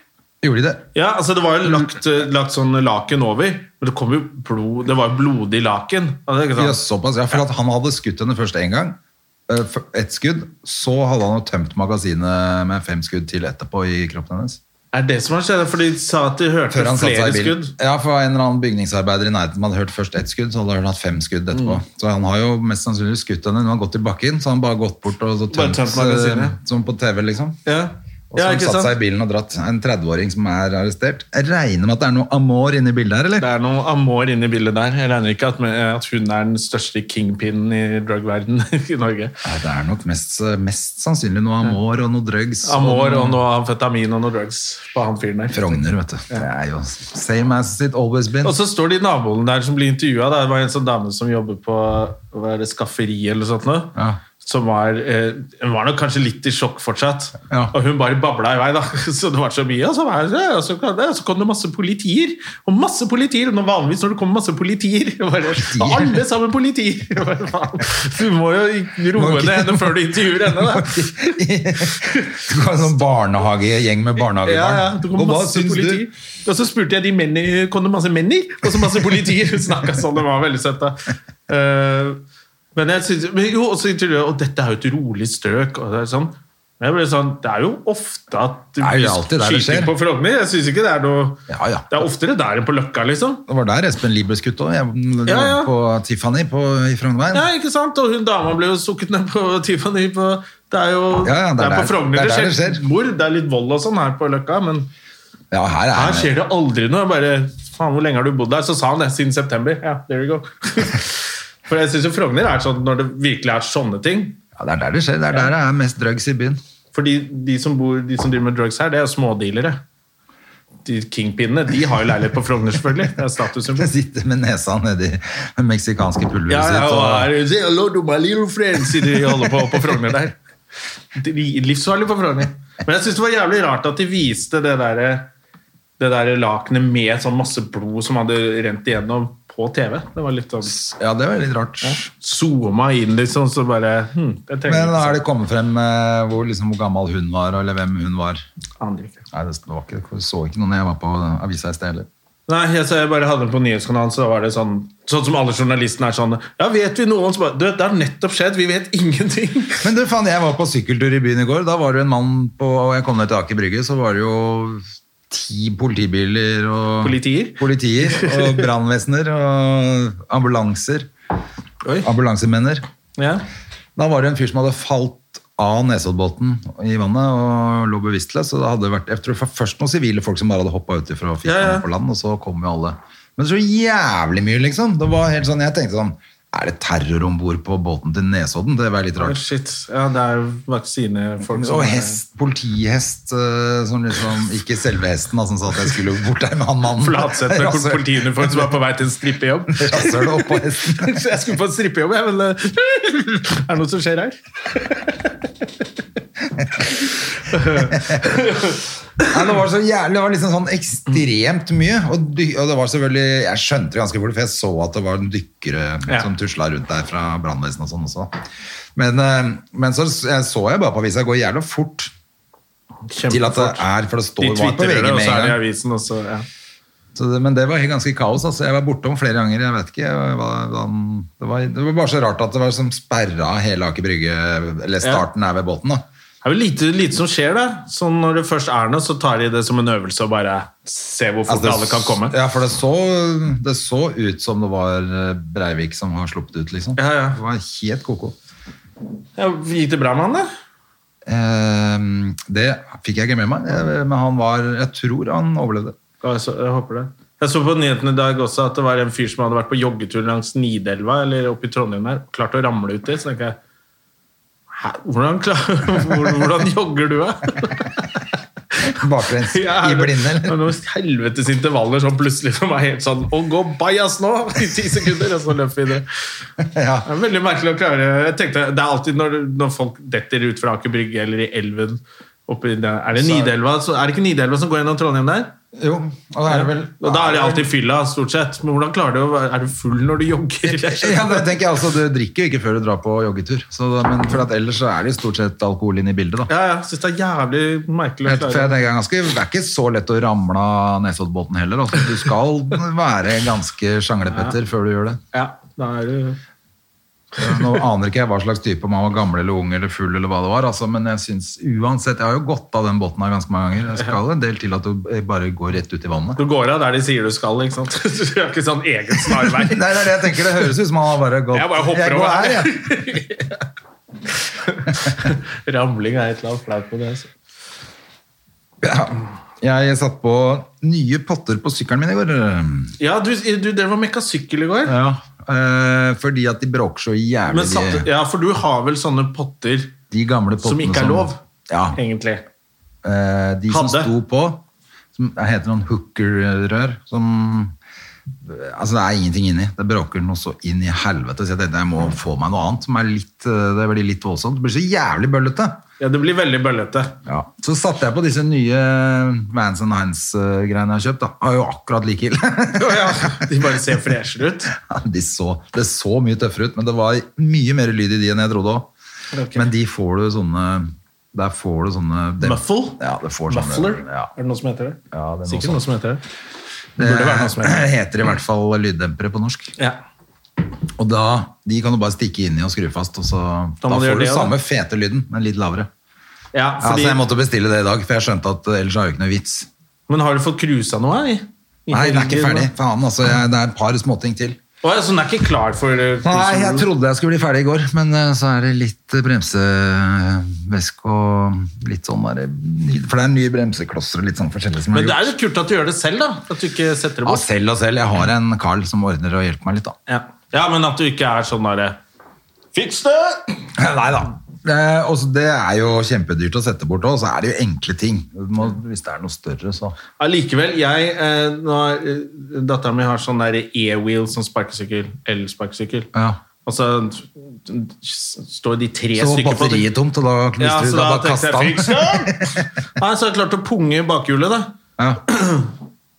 B: Gjorde de det?
A: Ja, altså det var jo lagt, lagt sånn laken over, men det kom jo blod Det var jo blodig laken. Og det er ikke sant?
B: Ja, såpass, ja, for at han hadde skutt henne først én gang. Eh, for- Ett skudd. Så hadde han jo tømt magasinet med fem skudd til etterpå i kroppen hennes.
A: Er det som har skjedd? For de sa at de hørte
B: Før han satte
A: flere
B: seg i bilen.
A: skudd.
B: Ja, for en eller annen bygningsarbeider i nærheten som hadde hørt først ett skudd, så hadde han hatt fem skudd etterpå.
A: Mm.
B: Så han har jo mest sannsynlig skutt henne. Hun har gått i bakken, så han bare gått bort og så
A: Bare
B: tømt,
A: tømt magasinet.
B: eh, som på TV, liksom.
A: Ja,
B: Og så
A: ja
B: har han
A: ikke
B: satt seg i
A: sant?
B: bilen og dratt. En 30-åring som er arrestert. Jeg regner med at det er noe amor inne i bildet her, eller?
A: Det er noe amor inne i bildet der. Jeg regner ikke at, med, at hun er den største kingpinnen i drugverden i Norge.
B: Nei, det er nok mest, eh, mest sannsynlig noe amor og noe drugs.
A: Amor og noe amfetamin og noe drugs på han fyren der.
B: Frogner, vet du. Det er jo same as it always been.
A: Og så står de naboene der som blir intervjua. Det var en sånn dame som jobber på hva er det, skafferi eller sånt noe.
B: Ja.
A: Som var, eh, hun var nok kanskje litt i sjokk fortsatt.
B: Ja.
A: Og hun bare babla i vei, da. Så det var så mye. Og så, var det, og så, kom, det, og så kom det masse politier. Og masse politier. Og nå vanligvis når det kommer masse politier jeg bare, Og alle sammen politier! Jeg Bare, faen, du må jo roe
B: Må ikke-
A: ned henne før du intervjuer henne, da.
B: Du kan ha en sånn barnehagegjeng med
A: Ja,
B: barnehagebarn.
A: ja, det kom
B: og hva
A: masse
B: syns
A: politi.
B: du?
A: Og så spurte jeg de mennene, kom det masse menner, og så masse politier. Hun snakket sånn, det var veldig søtt da. Eh, men jeg synes, men jo, og så intervjuet jeg, og dette er jo et rolig strøk, og det er sånn. Men jeg ble sånn, det er jo ofte at
B: Det er jo alltid der det skjer.
A: på Frogner. Jeg synes ikke det er noe,
B: Ja, ja.
A: det er oftere der enn på Løkka, liksom.
B: Det var der Espen Lieb ble skutt òg.
A: Ja, ja.
B: På Tiffany på, i Frognerveien.
A: Ja, ikke sant? Og hun dama ble jo stukket ned på Tiffany på Det er jo
B: Ja, ja, det er
A: det er på
B: der-
A: Frogner
B: det er
A: det,
B: der det
A: skjer
B: skjer.
A: mord. Det er litt vold og sånn her på Løkka, men
B: Ja, her er
A: her skjer det aldri noe. Jeg bare Faen, hvor lenge har du bodd der? Så sa han det. Siden september. Ja, there you go. For jeg syns jo Frogner er sånn når det virkelig er sånne ting.
B: Ja, det er der det skjer. Det er der det er mest drugs i byen.
A: Fordi de som, bor, de som driver med drugs her, det er jo smådealere. De kingpinene, de har jo leilighet på Frogner, selvfølgelig. Det er
B: Jeg
A: statussymbol.
B: sitter med nesa nedi det meksikanske pulveret
A: Ja, ja,
B: sitt.
A: og
B: Og,
A: her, say hello to my little friends, sier de holder på på Frogner der. De- Livsfarlig på Frogner. Men jeg syns det var jævlig rart at de viste det derre det der lakenet med sånn masse blod som hadde rent igjennom på TV. Det var litt sånn
B: ja, det var litt rart.
A: zooma inn, liksom, så bare hm, jeg trenger
B: Men har
A: ikke
B: det kommet frem eh, hvor, liksom, hvor gammel hun var, eller hvem hun var?
A: sånn. Aner ikke.
B: Nei, det var ikke, jeg så ikke noen jeg var på avisa i sted heller.
A: Nei, jeg, så jeg bare hadde den på nyhetskanalen, så var det sånn Sånn som alle journalistene er sånn Ja, vet vi noe om så bare, Du, det har nettopp skjedd, vi vet ingenting!
B: Men du, faen, jeg var på sykkeltur i byen i går. Da var det en mann på Og jeg kom ned til Aker Brygge, så var det jo ti politibiler og
A: Politier?
B: Politier og brannvesener og ambulanser.
A: Oi.
B: Ambulansemenner.
A: Ja.
B: Da var det en fyr som hadde falt av Nesoddbåten i vannet og lå bevisstløs. Så det hadde vært, jeg tror det var først noen sivile folk som bare hadde hoppa uti for å fikse
A: Ja, ja.
B: ham på land, og så kom jo alle. Men så jævlig mye, liksom. Det var helt sånn, Jeg tenkte sånn Er det terror om bord på båten til Nesodden? Det var litt
A: Oi,
B: rart.
A: shit. Ja, det er jo vaksinefolk
B: Og hest, politihest, eh, som liksom Ikke selve hesten, da, som sa at jeg skulle bort der med han mannen.
A: Flatseth med
B: Rasshøl-
A: politiuniform som er på vei til en strippejobb.
B: Rasshølet oppå hesten.
A: Så jeg skulle på en strippejobb, jeg, men eh, Er det noe som skjer her?
B: Nei, det var så jævlig, det var liksom sånn ekstremt mye. Og, dy, og det var selvfølgelig, jeg skjønte det ganske fort, for jeg så at det var en dykkere
A: Ja.
B: som tusla rundt der fra brannvesenet og sånn også. Men, eh, men så så jeg, så jeg bare på avisa, det går jævlig fort til at det
A: Kjempefort.
B: er, for det står
A: De
B: det var på
A: twitterer
B: VG
A: det, og
B: med
A: så er
B: en
A: det i
B: gang.
A: avisen, og så ja.
B: Så det, men det var helt ganske kaos, altså. Jeg var bortom flere ganger, jeg vet ikke. Jeg var, hvordan- det, var, det var bare så rart at det var som sperra hele Aker Brygge, eller starten der ved båten da.
A: Det er jo lite, lite som skjer der. Så når det først er noe, så tar de det som en øvelse og bare ser hvor fort
B: Altså, det-
A: alle kan komme.
B: Ja, for det så, det så ut som det var eh, Breivik som har sluppet ut, liksom.
A: Ja, ja.
B: Det var helt koko.
A: Ja, gikk det bra med han, da?
B: Ehm, det fikk jeg ikke med meg, eh, men han var Jeg tror han overlevde.
A: Ja, Jeg, så, jeg håper det. Jeg så på nyhetene i dag også at det var en fyr som hadde vært på joggetur langs Nidelva eller oppe i Trondheim der, og klarte å ramle uti. Så tenker jeg Hæ? Hvordan, klar, hvordan, hvordan jogger du, da?
B: Baklengs
A: Ja,
B: i blinde,
A: det var
B: eller?
A: noen helvetes intervaller sånn plutselig for meg helt sånn Å, gå bajas nå! I ti sekunder, og så løp videre.
B: Ja.
A: Det er veldig merkelig å klare Jeg tenkte, Det er alltid når, når folk detter ut fra Aker Brygge eller i elven oppe i det, Er det Nidelva? Så, er det ikke Nidelva som går gjennom Trondheim der?
B: Jo, og da er det vel
A: Og da er det alltid fylla, stort sett. Men hvordan klarer du å være Er du full når du jogger?
B: ja, det tenker jeg altså, Du drikker jo ikke før du drar på joggetur, så, da- men for at ellers så er det jo stort sett alkohol inne i bildet. da
A: Ja, ja. Syns det er jævlig merkelig å
B: Jeg- for jeg
A: klare.
B: tenker ganske, Det er ikke så lett å ramle av Nesoddbåten heller. Altså. Du skal være ganske sjanglepetter før du gjør det.
A: Ja, da er du
B: Nå aner ikke jeg hva slags type om han var gammel eller ung eller full eller hva det var, altså, men jeg synes uansett, jeg har jo gått av den båten her ganske mange ganger. Jeg skal en del til at du eh, bare går rett ut i vannet.
A: Du går av der de sier du skal, ikke sant? Du har ikke sånn egen snarvei.
B: Nei, det er det jeg tenker. Det høres ut som han har bare gått
A: Jeg bare hopper
B: går
A: over her,
B: her, jeg.
A: Ramling er et eller annet flaut med det. altså.
B: Jeg satt på nye potter på sykkelen min i går.
A: Ja, du, du drev og mekka sykkel i går.
B: Ja. eh, Fordi at de bråker så jævlig,
A: Men satte,
B: de,
A: ja, for du har vel sånne potter,
B: de gamle pottene
A: som ikke er lov,
B: Ja,
A: egentlig?
B: Eh, de som
A: Hadde.
B: sto på, som det heter noen hooker-rør, som Altså, det er ingenting inni. Det bråker noe så inn i helvete. Så jeg tenkte jeg må få meg noe annet som er litt eh, Det blir litt voldsomt. Det blir så jævlig bøllete.
A: Ja, det blir veldig bøllete.
B: Så satte jeg på disse nye Vans Hines-greiene jeg har kjøpt. da. Var jo akkurat like ille.
A: Ja, de bare ser freshere ut.
B: de så, det så mye tøffere ut, men det var mye mer lyd i de enn jeg trodde òg.
A: Ok.
B: Men de får du sånne Der får du sånne dem-
A: Muffle?
B: Ja, det får sånne,
A: Muffler?
B: Ja.
A: Er det noe som heter det?
B: Ja, det er noe
A: Sikkert
B: sånt.
A: noe som heter det. Det burde være noe som heter det.
B: heter i hvert fall lyddempere på norsk.
A: Ja.
B: Og da, De kan du bare stikke inn i og skru fast, og så
A: Da
B: da
A: må du gjøre
B: får du
A: det, da.
B: samme fete lyden, men litt lavere.
A: ja,
B: Ja,
A: fordi,
B: så Jeg måtte bestille det i dag, for jeg skjønte at eh, ellers er det jo ikke noe vits.
A: Men har du fått cruisa noe? her i- i
B: Nei, det er ikke
A: helgen,
B: ferdig.
A: da?
B: Faen, altså, jeg, det er et par småting til.
A: Å, ja, Så den er ikke klar for eh,
B: Nei, jeg trodde jeg skulle bli ferdig i går, men eh, så er det litt eh, bremsevesk og litt sånn der, eh, For det er nye bremseklosser og litt sånn forskjellig som
A: Men det
B: gjort.
A: er jo kult at du gjør det selv, da. At du ikke setter det
B: Ja,
A: bort.
B: selv og selv. Jeg har en Carl som ordner og hjelper meg litt, da.
A: Ja, ja men at du ikke er sånn derre Fiks det!
B: Nei da. Eh, også, det er jo kjempedyrt å sette bort òg, så er det jo enkle ting. Du må, hvis det er noe større, så
A: Allikevel, jeg eh, når, eh, Datteren min har sånn der e-wheel som sparkesykkel. Elsparkesykkel.
B: Ja.
A: Og så s- står de tre
B: Så var
A: stykker på
B: batteriet tomt, og da knuste
A: Ja,
B: du
A: så
B: da
A: da
B: bare
A: tenkte
B: kastet
A: jeg
B: den.
A: fiks det! Nei, så har jeg klart å punge i bakhjulet, da.
B: Ja.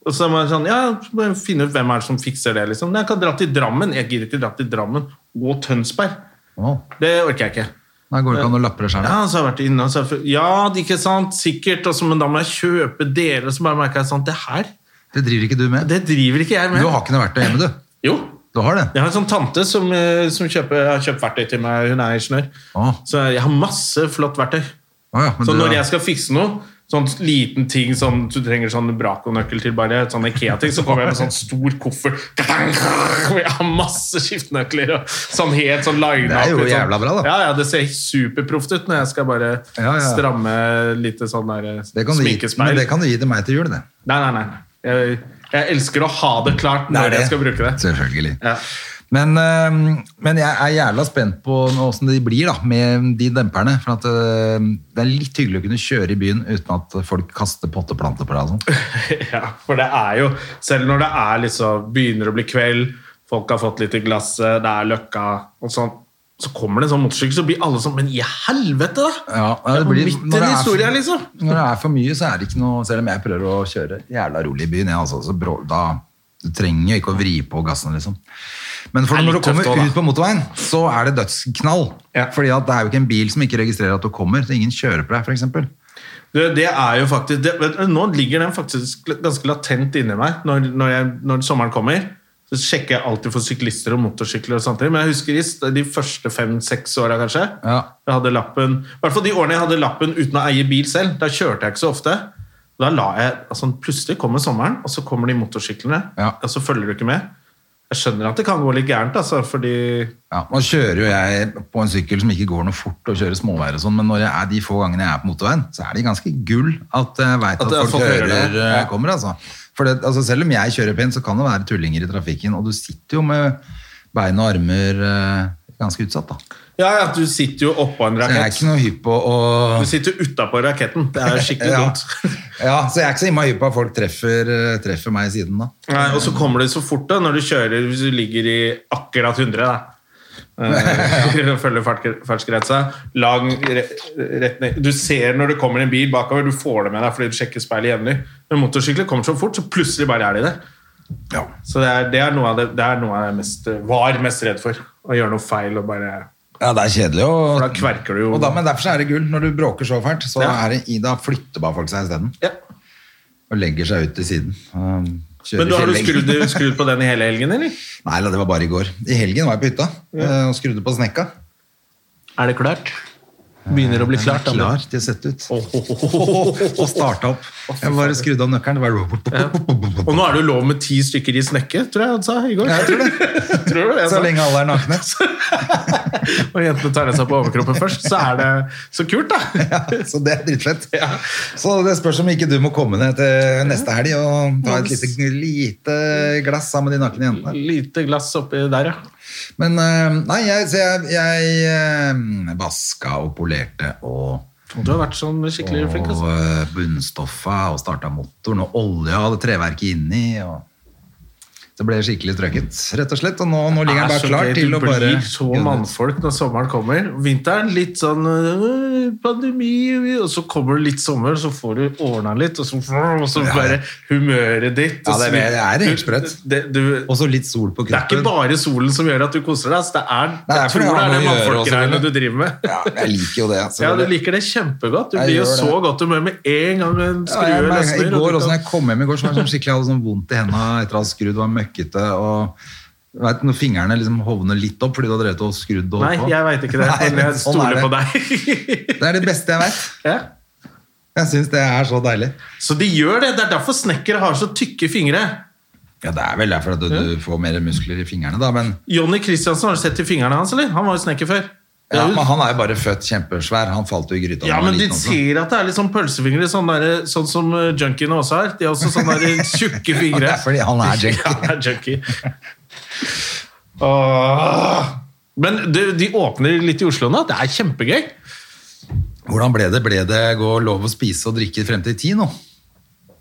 A: Og så var det sånn, ja, så må jeg finne ut hvem er det som fikser det, liksom. Nei, jeg kan dra til Drammen. Jeg gidder ikke dra til Drammen og Tønsberg.
B: Å,
A: Det orker jeg ikke.
B: Da går det ikke an å lappe det sjøl.
A: Ja, så har jeg vært inne og så har jeg, Ja, det ikke sant, sikkert. Og så, men da må jeg kjøpe deler, så bare merker jeg sånn Det her,
B: Det driver ikke du med.
A: det driver ikke jeg
B: Du
A: med.
B: har ikke noe verktøy hjemme, du.
A: Jo.
B: Du har det.
A: Jeg har en sånn tante som, eh, som kjøper, har kjøpt verktøy til meg. Hun er ingeniør.
B: Å.
A: Så jeg har masse flott verktøy.
B: Å ja, men
A: Så
B: du-
A: når jeg skal fikse noe, sånn liten ting som du trenger sånn brakonøkkel til, bare sånn Ikea-ting, så kommer jeg med sånn stor koffert. Og Jeg har masse skiftenøkler og sånn helt sånn line
B: Det er jo
A: litt sånn.
B: jævla bra, da.
A: Ja, ja, det ser superproft ut når jeg skal bare
B: Ja, ja.
A: stramme litt sånn der eh,
B: det kan du gi, men
A: sminkespeil.
B: det kan du gi til meg til jul, det.
A: Nei, nei, nei. Jeg, jeg elsker å ha det klart når jeg skal bruke det.
B: Selvfølgelig.
A: Ja.
B: Men, eh, men jeg er jævla spent på åssen de blir da, med de demperne. For at eh, det er litt hyggelig å kunne kjøre i byen uten at folk kaster potteplanter på deg. og sånn.
A: Ja, for det er jo Selv når det er liksom, begynner å bli kveld, folk har fått litt i glasset, det er løkka og sånn, så kommer det en sånn motorsykkel, så blir alle sånn Men i helvete, da!
B: Ja,
A: det
B: det blir-
A: midt i
B: når det
A: en
B: er-
A: historie, liksom.
B: Når det er for mye, så er det ikke noe Selv om jeg prøver å kjøre jævla rolig i byen, jeg, altså, så brå, da, du trenger ikke å vri på gassen, liksom. Men for
A: Det er
B: når du
A: litt
B: kommer
A: tøft også, da.
B: ut på motorveien, så er det dødsknall.
A: Ja.
B: Fordi at det er jo ikke en bil som ikke registrerer at du kommer. så Ingen kjører på deg, f.eks.
A: Du, det er jo faktisk det, vet, du, Nå ligger den faktisk ganske latent inni meg. Når, når, jeg, når sommeren kommer, så sjekker jeg alltid for syklister og motorsykler. og sånt. Men jeg husker i st- de første fem-seks åra, kanskje.
B: Ja.
A: Jeg hadde lappen, I hvert fall de årene jeg hadde lappen uten å eie bil selv. Da kjørte jeg ikke så ofte. Da la jeg, altså Plutselig kommer sommeren, og så kommer de motorsyklene.
B: Ja.
A: Og så følger du ikke med. Jeg skjønner at det kan gå litt gærent, altså, fordi
B: Ja, nå kjører jo jeg på en sykkel som ikke går noe fort og kjører småveier og sånn, men når jeg er de få gangene jeg er på motorveien, så er de ganske gull at jeg vet
A: At
B: at,
A: det er
B: folk
A: folk hører
B: hører
A: det.
B: eh,
A: Ja.
B: kommer, altså. For det, altså. Selv om jeg kjører pent, så kan det være tullinger i trafikken, og du sitter jo med bein og armer eh, ganske utsatt, da.
A: Ja, ja, du sitter jo oppå en
B: Så jeg er
A: rakett.
B: ikke noe hypp på å...
A: Du sitter utapå raketten. Det er jo skikkelig
B: Ja.
A: dumt.
B: Ja, så jeg er ikke så imma hypp på at folk treffer, eh, treffer meg i siden, da.
A: Nei, og så kommer det så fort da, når du kjører, hvis du ligger i akkurat 100, da. Eh, Følger fartgre- fartsgrensa. Lang re- rett ned. Du ser når det kommer en bil bakover, du får det med deg fordi du sjekker speilet jevnlig. Men motorsykler kommer så fort, så plutselig bare er de der. Så det er, det er noe av det, det er noe jeg mest, var mest redd for. Å gjøre noe feil og bare
B: Ja, det er kjedelig å...
A: For da kverker du jo.
B: Og da, men derfor så er det gull. Når du bråker så fælt, så
A: Ja.
B: er det, i- da flytter bare folk seg i stedet.
A: ja.
B: og legger seg ut til siden. Um, kjører
A: Men du, har du
B: kjelling.
A: skrudd, skrudd på den i hele helgen, eller?
B: Nei, la, det var bare i går. I helgen var jeg på hytta eh, og skrudde på snekka.
A: Er det klart? Begynner å bli klart. da.
B: Klar til å sette ut. Og starta opp. Jeg bare skrudde av nøkkelen. Det var
A: Og nå er det jo lov med ti stykker i snekke, tror jeg han sa i går.
B: Jeg tror det.
A: Tror du det?
B: Så
A: Altså,
B: lenge alle er nakne.
A: Og jentene tar av seg på overkroppen først, så er det så kult, da.
B: Ja, så det er dritfett.
A: Ja.
B: Så det spørs om ikke du må komme ned til neste helg og ta et lite, lite glass sammen med de nakne jentene.
A: Lite glass oppi der, ja.
B: Men eh, nei, jeg, så jeg, jeg eh, vaska og polerte og
A: Du har vært sånn skikkelig flink.
B: og
A: Altså.
B: eh, bunnstoffa og starta motoren, og olja hadde treverket inni. Og det ble skikkelig trøkket, rett og slett. Og nå, nå ligger den
A: Det er
B: bare
A: så
B: klar
A: gøy,
B: til å bare
A: Du blir så mannfolk når sommeren kommer. Vinteren litt sånn øh, pandemi, øh», og så kommer det litt sommer, så får du ordna litt, og så, og så bare humøret ditt. og
B: Ja, det er- det er helt sprøtt.
A: Du- det- du-
B: Og så litt sol på
A: Det er
B: kroppen.
A: ikke bare solen som gjør at du koser deg. ass. Det er,
B: Nei,
A: jeg
B: for
A: tror
B: det
A: det
B: har
A: er
B: noe
A: det
B: å gjøre
A: mannfolkgreiene
B: også,
A: du driver med.
B: Ja, jeg liker jo det. altså.
A: Ja, Du liker det kjempegodt. Du
B: Jeg
A: blir jo
B: gjør
A: så
B: det.
A: godt humør med en gang en
B: Ja, jeg
A: skrue
B: merket-
A: løsner.
B: I
A: og
B: går
A: du
B: også,
A: kan-
B: når jeg kom hjem i går, så var det sånn skikkelig jeg hadde sånn vondt i henda etter å ha skrudd, var møkkete. og du vet, Når fingrene liksom hovner litt opp fordi du har drevet og skrudd og
A: Nei,
B: holdt på.
A: jeg veit ikke det.
B: Nei,
A: men jeg
B: sånn er
A: stoler på
B: det.
A: deg.
B: Det er det beste jeg vet.
A: ja.
B: Jeg syns det er så deilig.
A: Så de gjør det. Det er derfor snekkere har så tykke fingre.
B: Ja, det er vel derfor at du, du får mer muskler i fingrene, da, men
A: Jonny Christiansen, har du sett i fingrene hans, eller? Han var jo snekker før. Det er
B: ja,
A: jo-
B: men han er jo bare født kjempesvær. Han falt jo i gryta. da
A: Ja,
B: han var
A: men de
B: liten også.
A: ser at det er litt sånn pølsefingre, sånn, der, sånn som eh, junkiene også har. De har også sånne der tjukke fingre.
B: Det er fordi han er junkie.
A: Ja, han er junkie. Åh. Men de, de åpner litt i Oslo nå. Det er kjempegøy.
B: Hvordan ble det? Ble det gå lov å spise og drikke frem til ti nå?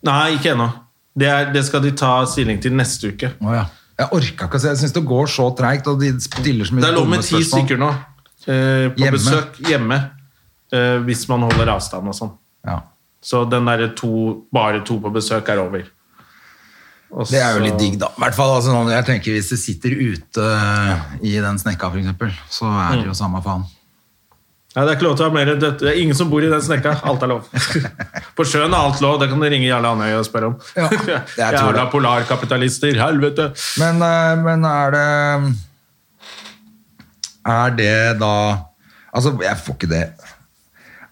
A: Nei, ikke ennå. Det, er- det skal de ta stilling til neste uke.
B: Å, ja. Jeg orka ikke å se. Jeg syns det går så treigt, og de stiller så mye
A: Det er lov
B: dumme
A: med ti
B: spørsmål.
A: stykker nå. eh, på
B: Hjemme.
A: besøk hjemme. eh, hvis man holder avstand og sånn.
B: Ja.
A: Så den derre to, bare to på besøk er over. Og
B: Det er jo litt
A: så-
B: digg, da. I hvert fall, altså, sånn, jeg tenker Hvis det sitter ute eh, i den snekka, f.eks., så er
A: Mm.
B: det jo samme faen.
A: Nei, det er ikke lov til å ha mer enn dette. Det er ingen som bor i den snekka. Alt er lov. På sjøen er alt lov. Det kan du ringe Jarle Andøy og spørre om.
B: Ja, jeg tror det.
A: Jævla polarkapitalister. Helvete.
B: Men, eh, men er det Er det da Altså, jeg får ikke det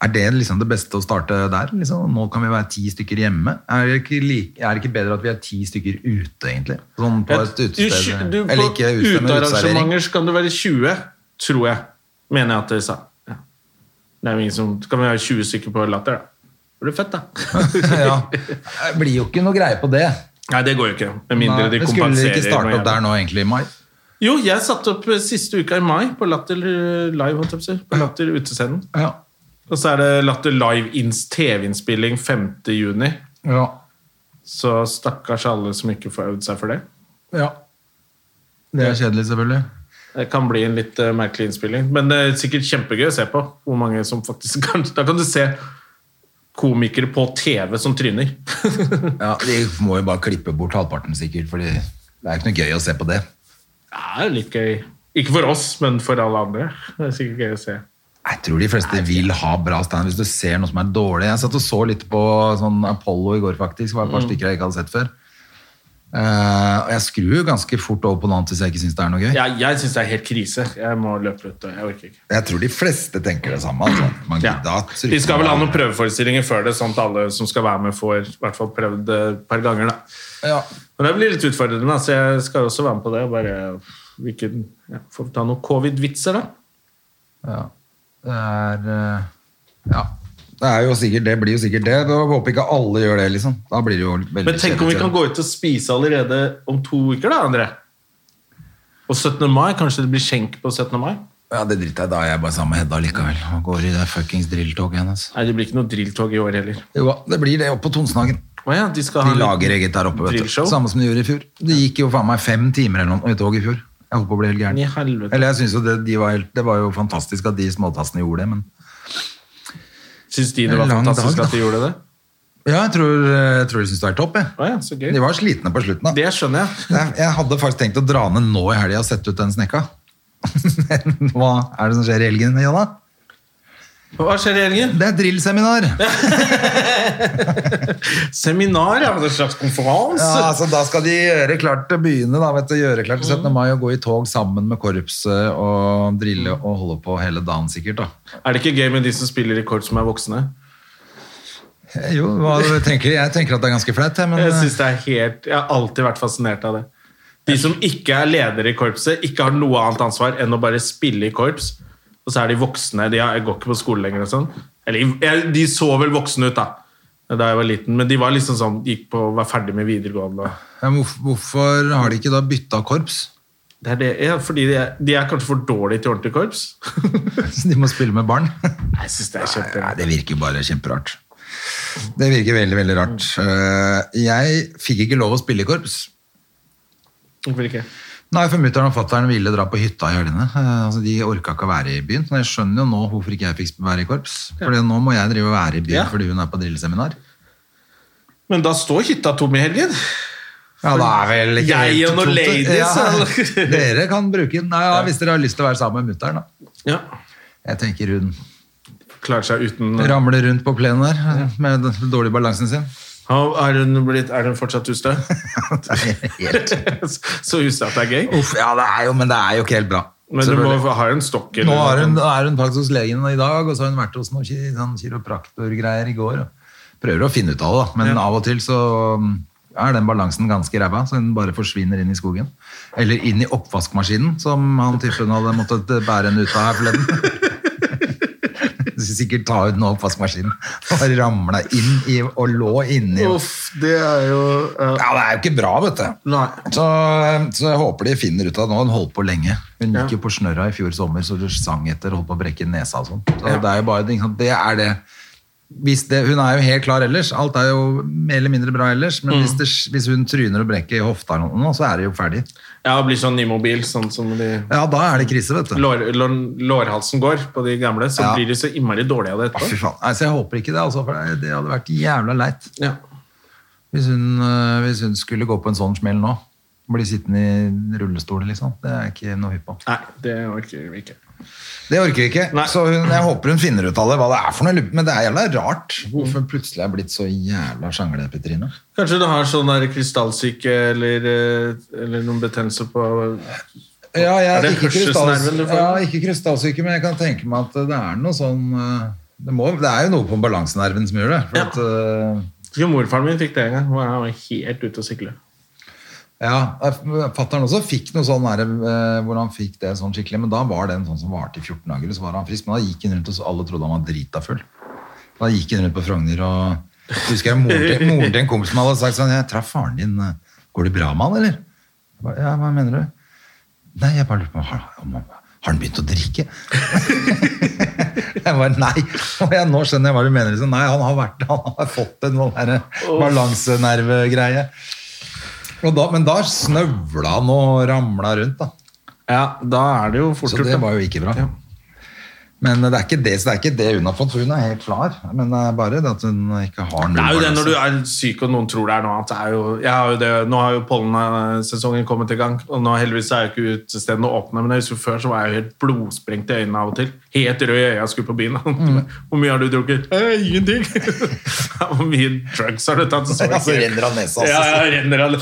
B: Er det liksom det beste å starte der? Liksom? Nå kan vi være ti stykker hjemme. Er det ikke, like, er det ikke bedre at vi er ti stykker ute, egentlig? Sånn på et utested?
A: Du, på
B: Eller ikke utested, men uteservering.
A: utearrangementer så kan det være 20, tror jeg. Mener jeg at dere sa. Ja. Det er jo ingen som Kan vi ha 20 stykker på latter, da? Det blir fett, da.
B: ja. Det blir jo ikke noe greie på det.
A: Nei, det går jo ikke. Med mindre
B: Nei,
A: de
B: men skulle dere
A: kompenserer.
B: ikke
A: noe
B: starte
A: jævlig.
B: opp der nå, egentlig, i mai?
A: Jo, jeg satte opp eh, siste uka i mai på Latter eh, Live, holdt jeg på å si. På Latter Utescenen.
B: Ja.
A: Og så er det Latter Live-ins TV-innspilling 5. juni.
B: ja.
A: Så stakkars alle som ikke får øvd seg for det.
B: Ja. Det er kjedelig, selvfølgelig.
A: Det kan bli en litt eh, merkelig innspilling, men det er sikkert kjempegøy å se på. hvor mange som faktisk kan... Da kan du se komikere på TV som tryner.
B: Ja, De må jo bare klippe bort halvparten, sikkert, for det er jo ikke noe gøy å se på det.
A: det er jo litt gøy. Ikke for oss, men for alle andre. Det er sikkert gøy å se.
B: Jeg tror de fleste vil ha bra stand hvis du ser noe som er dårlig. Jeg satt og så litt på sånn Apollo i går, faktisk. Det var et
A: Mm.
B: par stykker jeg ikke hadde sett før. Eh, og jeg skrur jo ganske fort over på noe annet hvis jeg ikke syns det er noe gøy.
A: Jeg, jeg syns det er helt krise. Jeg må løpe ut. og Jeg orker ikke.
B: Jeg tror de fleste tenker det samme. Altså. Man
A: Ja.
B: gidder at-
A: De skal vel ha noen prøveforestillinger før det, sånn at alle som skal være med, får i hvert fall prøvd det et par ganger. da.
B: Ja.
A: Men det blir litt utfordrende, da, så jeg skal også være med på det. Bare hvilken, ja, Får vi ta noen covid-vitser, da.
B: ja. Det er eh, Ja. Det, er jo sikkert, det blir jo sikkert det. Jeg håper ikke alle gjør det, liksom. Da blir det jo veldig
A: Men tenk om vi
B: kjedelig.
A: kan gå ut og spise allerede om to uker, da, André. Og 17. mai, kanskje det blir skjenk på 17. mai?
B: Ja, det driter jeg i. Da er jeg bare sammen med Hedda likevel. Og går i det fuckings altså. drilltoget hennes.
A: Nei, det blir ikke noe drilltog i år heller.
B: Jo, det blir det opp på Tonsenhagen.
A: Å ja, de skal ha
B: De
A: en
B: lager eget der oppe, vet du.
A: drillshow.
B: Samme som de gjorde i fjor. Det gikk jo faen meg fem timer eller noe i tog i fjor. Jeg holdt på å bli helt gæren.
A: I helvete.
B: Eller jeg synes jo det, de var helt, det var jo fantastisk at de småtassene gjorde det, men
A: Syns de det var
B: Lang dag,
A: fantastisk
B: da.
A: at de gjorde det?
B: Ja, jeg tror, jeg tror de syntes det var helt topp, jeg.
A: Å ja, så gøy.
B: De var slitne på slutten, da.
A: Det skjønner jeg.
B: Jeg, jeg hadde faktisk tenkt å dra ned nå i helga og sette ut den snekka. Men Hva er det som skjer i helgen, Jonna?
A: Hva skjer i helgen?
B: Det er drillseminar!
A: Seminar, ja. En slags konferanse.
B: Ja, altså, da skal de gjøre klart til byene, da, vet du, gjøre klart til 17. mai og gå i tog sammen med korpset og drille og holde på hele dagen sikkert. da.
A: Er det ikke gøy med de som spiller i kort som er voksne?
B: Eh, Jo, hva du tenker, jeg tenker at det er ganske flaut, jeg, men
A: Jeg
B: eh,
A: synes det er helt Jeg har alltid vært fascinert av det. De som ikke er ledere i korpset, ikke har noe annet ansvar enn å bare spille i korps. Og så er de voksne. De har- går ikke på skole lenger og sånn. Eller jeg- de så vel voksne ut, da. Da jeg var liten, men de var liksom sånn, gikk på var ferdig med videregående. og-
B: ja, men hvorf- hvorfor har de ikke da bytta korps?
A: Det er det, ja, fordi de er, de er kanskje for dårlige til ordentlig korps.
B: Så de må spille med barn?
A: Jeg synes det er
B: Nei,
A: kjemperart.
B: det virker bare kjemperart. Det virker veldig, veldig rart. Eh, Jeg fikk ikke lov å spille i korps.
A: Hvorfor ikke?
B: Nei, for mutter'n og fatter'n ville dra på hytta i helgene. Eh, Altså, de orka ikke å være i byen. Men jeg skjønner jo nå hvorfor ikke jeg fikk være i korps. For nå må jeg drive og være i byen
A: Ja.
B: fordi hun er på drilleseminar.
A: Men da står hytta tom i helgen.
B: Ja, da er vel ikke
A: Jeg
B: helt
A: og noen
B: tomt, det.
A: ladies,
B: Ja,
A: eller?
B: dere kan bruke den. Nei, ja, hvis dere har lyst til å være sammen med mutter'n, da.
A: Ja.
B: Jeg tenker hun
A: Klarer seg uten
B: ramler rundt på plenen der eh, med den dårlige balansen sin.
A: Har- Er hun, blitt, er hun fortsatt ustø?
B: Det er helt...
A: Så ustø at det er gøy.
B: Uff, ja, det er jo, men det er jo ikke helt bra.
A: Men du må
B: Selvfølgelig.
A: ha en stokk. eller
B: Nå
A: noe
B: er hun,
A: sånt.
B: er hun faktisk hos legen i dag, og så har hun vært hos noen ki sånn kiropraktorgreier i går. og Prøver å finne ut av det, da. men av og til så mm, er den balansen ganske ræva, så den bare forsvinner inn i skogen. Eller inn i oppvaskmaskinen, som han typen hadde måttet bære henne ut av her forleden. Sikkert ta ut den oppvaskmaskinen. Bare ramla inn i, og lå inni
C: Uff, det er jo ja.
A: eh,
B: ja, det er jo ikke bra, vet du.
C: Nei.
B: Så, eh, så jeg håper de finner ut av det nå. Hun holdt på lenge. Hun gikk jo på snørra i fjor sommer, så du sang etter, holdt på å brekke nesa og sånn. Så det er jo bare ikke sant, Det er det. Hvis det. Hun er jo helt klar ellers. Alt er jo mer eller mindre bra ellers. Men hvis, det, hvis hun tryner og brekker hofta eller noe, nå, så er det jo ferdig.
A: Ja, det blir sånn immobil, sånn som de
B: Ja, da er det krise, vet du.
A: lår, lår, lårhalsen går på de gamle, så
B: Ja.
A: blir de så innmari dårlige av det
B: Å, fy
A: etterpå.
B: faen. Nei, så jeg håper ikke det, altså. For det- det hadde vært jævla leit
A: Ja.
B: hvis hun, øh, hvis hun skulle gå på en sånn smell nå. Bli sittende i rullestol, liksom. Det er jeg ikke noe hypp på.
A: Nei, det orker vi ikke.
B: Det orker vi ikke.
A: Nei.
B: Så hun, jeg håper hun finner ut av det, hva det er for noe. Men det er jævla rart hvorfor hun plutselig er blitt så jævla sjanglepetrine.
A: Kanskje du har sånn der krystallsyke eller, eh, eller noen betennelse på
B: Ja, jeg,
A: Er det
B: ikke, krystalls,
A: hørselsnerven du får?
B: ja, ikke krystallsyke, men jeg kan tenke meg at det er noe sånn eh, Det, må, det er jo noe på balansenerven som gjør det. For
A: Ja.
B: at, eh,
A: Ikke morfaren min fikk det en gang. Han var helt ute å sykle.
B: ja, eh, Fattern også fikk noe sånn der, eh, hvor han fikk det sånn skikkelig, men da var den sånn som varte i 14 dager, og så var han frisk. Men da gikk han rundt, og så alle trodde han var drita full. Da gikk han rundt på Frogner og Jeg husker jeg moren til, moren til en kompis som hadde sagt sånn Jeg traff faren din. eh, Går det bra med han, eller? Jeg ba, ja, hva mener du? Nei, jeg bare lurer på har, om han- har han begynt å drikke? jeg bare nei. Og jeg, nå skjønner jeg hva du mener. Så nei, han har, vært, han har fått en sånn der balansenervegreie. Og da, men da snøvla han og ramla rundt, da.
A: Ja, da er det jo fort
B: Så
A: gjort.
B: det
A: da.
B: var jo ikke bra. Men det er ikke det, så det er ikke det hun har fått, for hun er helt klar. Men det er bare det at hun ikke har noe
A: Det er jo det
B: balanse.
A: når du er syk og noen tror det er noe annet. Det er jo, jeg har jo det, nå har jo pollensesongen kommet i gang, og nå heldigvis er jo ikke utestedene åpne. Men jeg husker før så var jeg jo helt blodsprengt i øynene av og til. Helt rød i øya skulle på byen. Hvor mye har du drukket? «Eh, Ingenting. Hvor mye drugs har du tatt? Så,
B: Ja, så renner av nesa, altså.
A: Ja, ja, renner av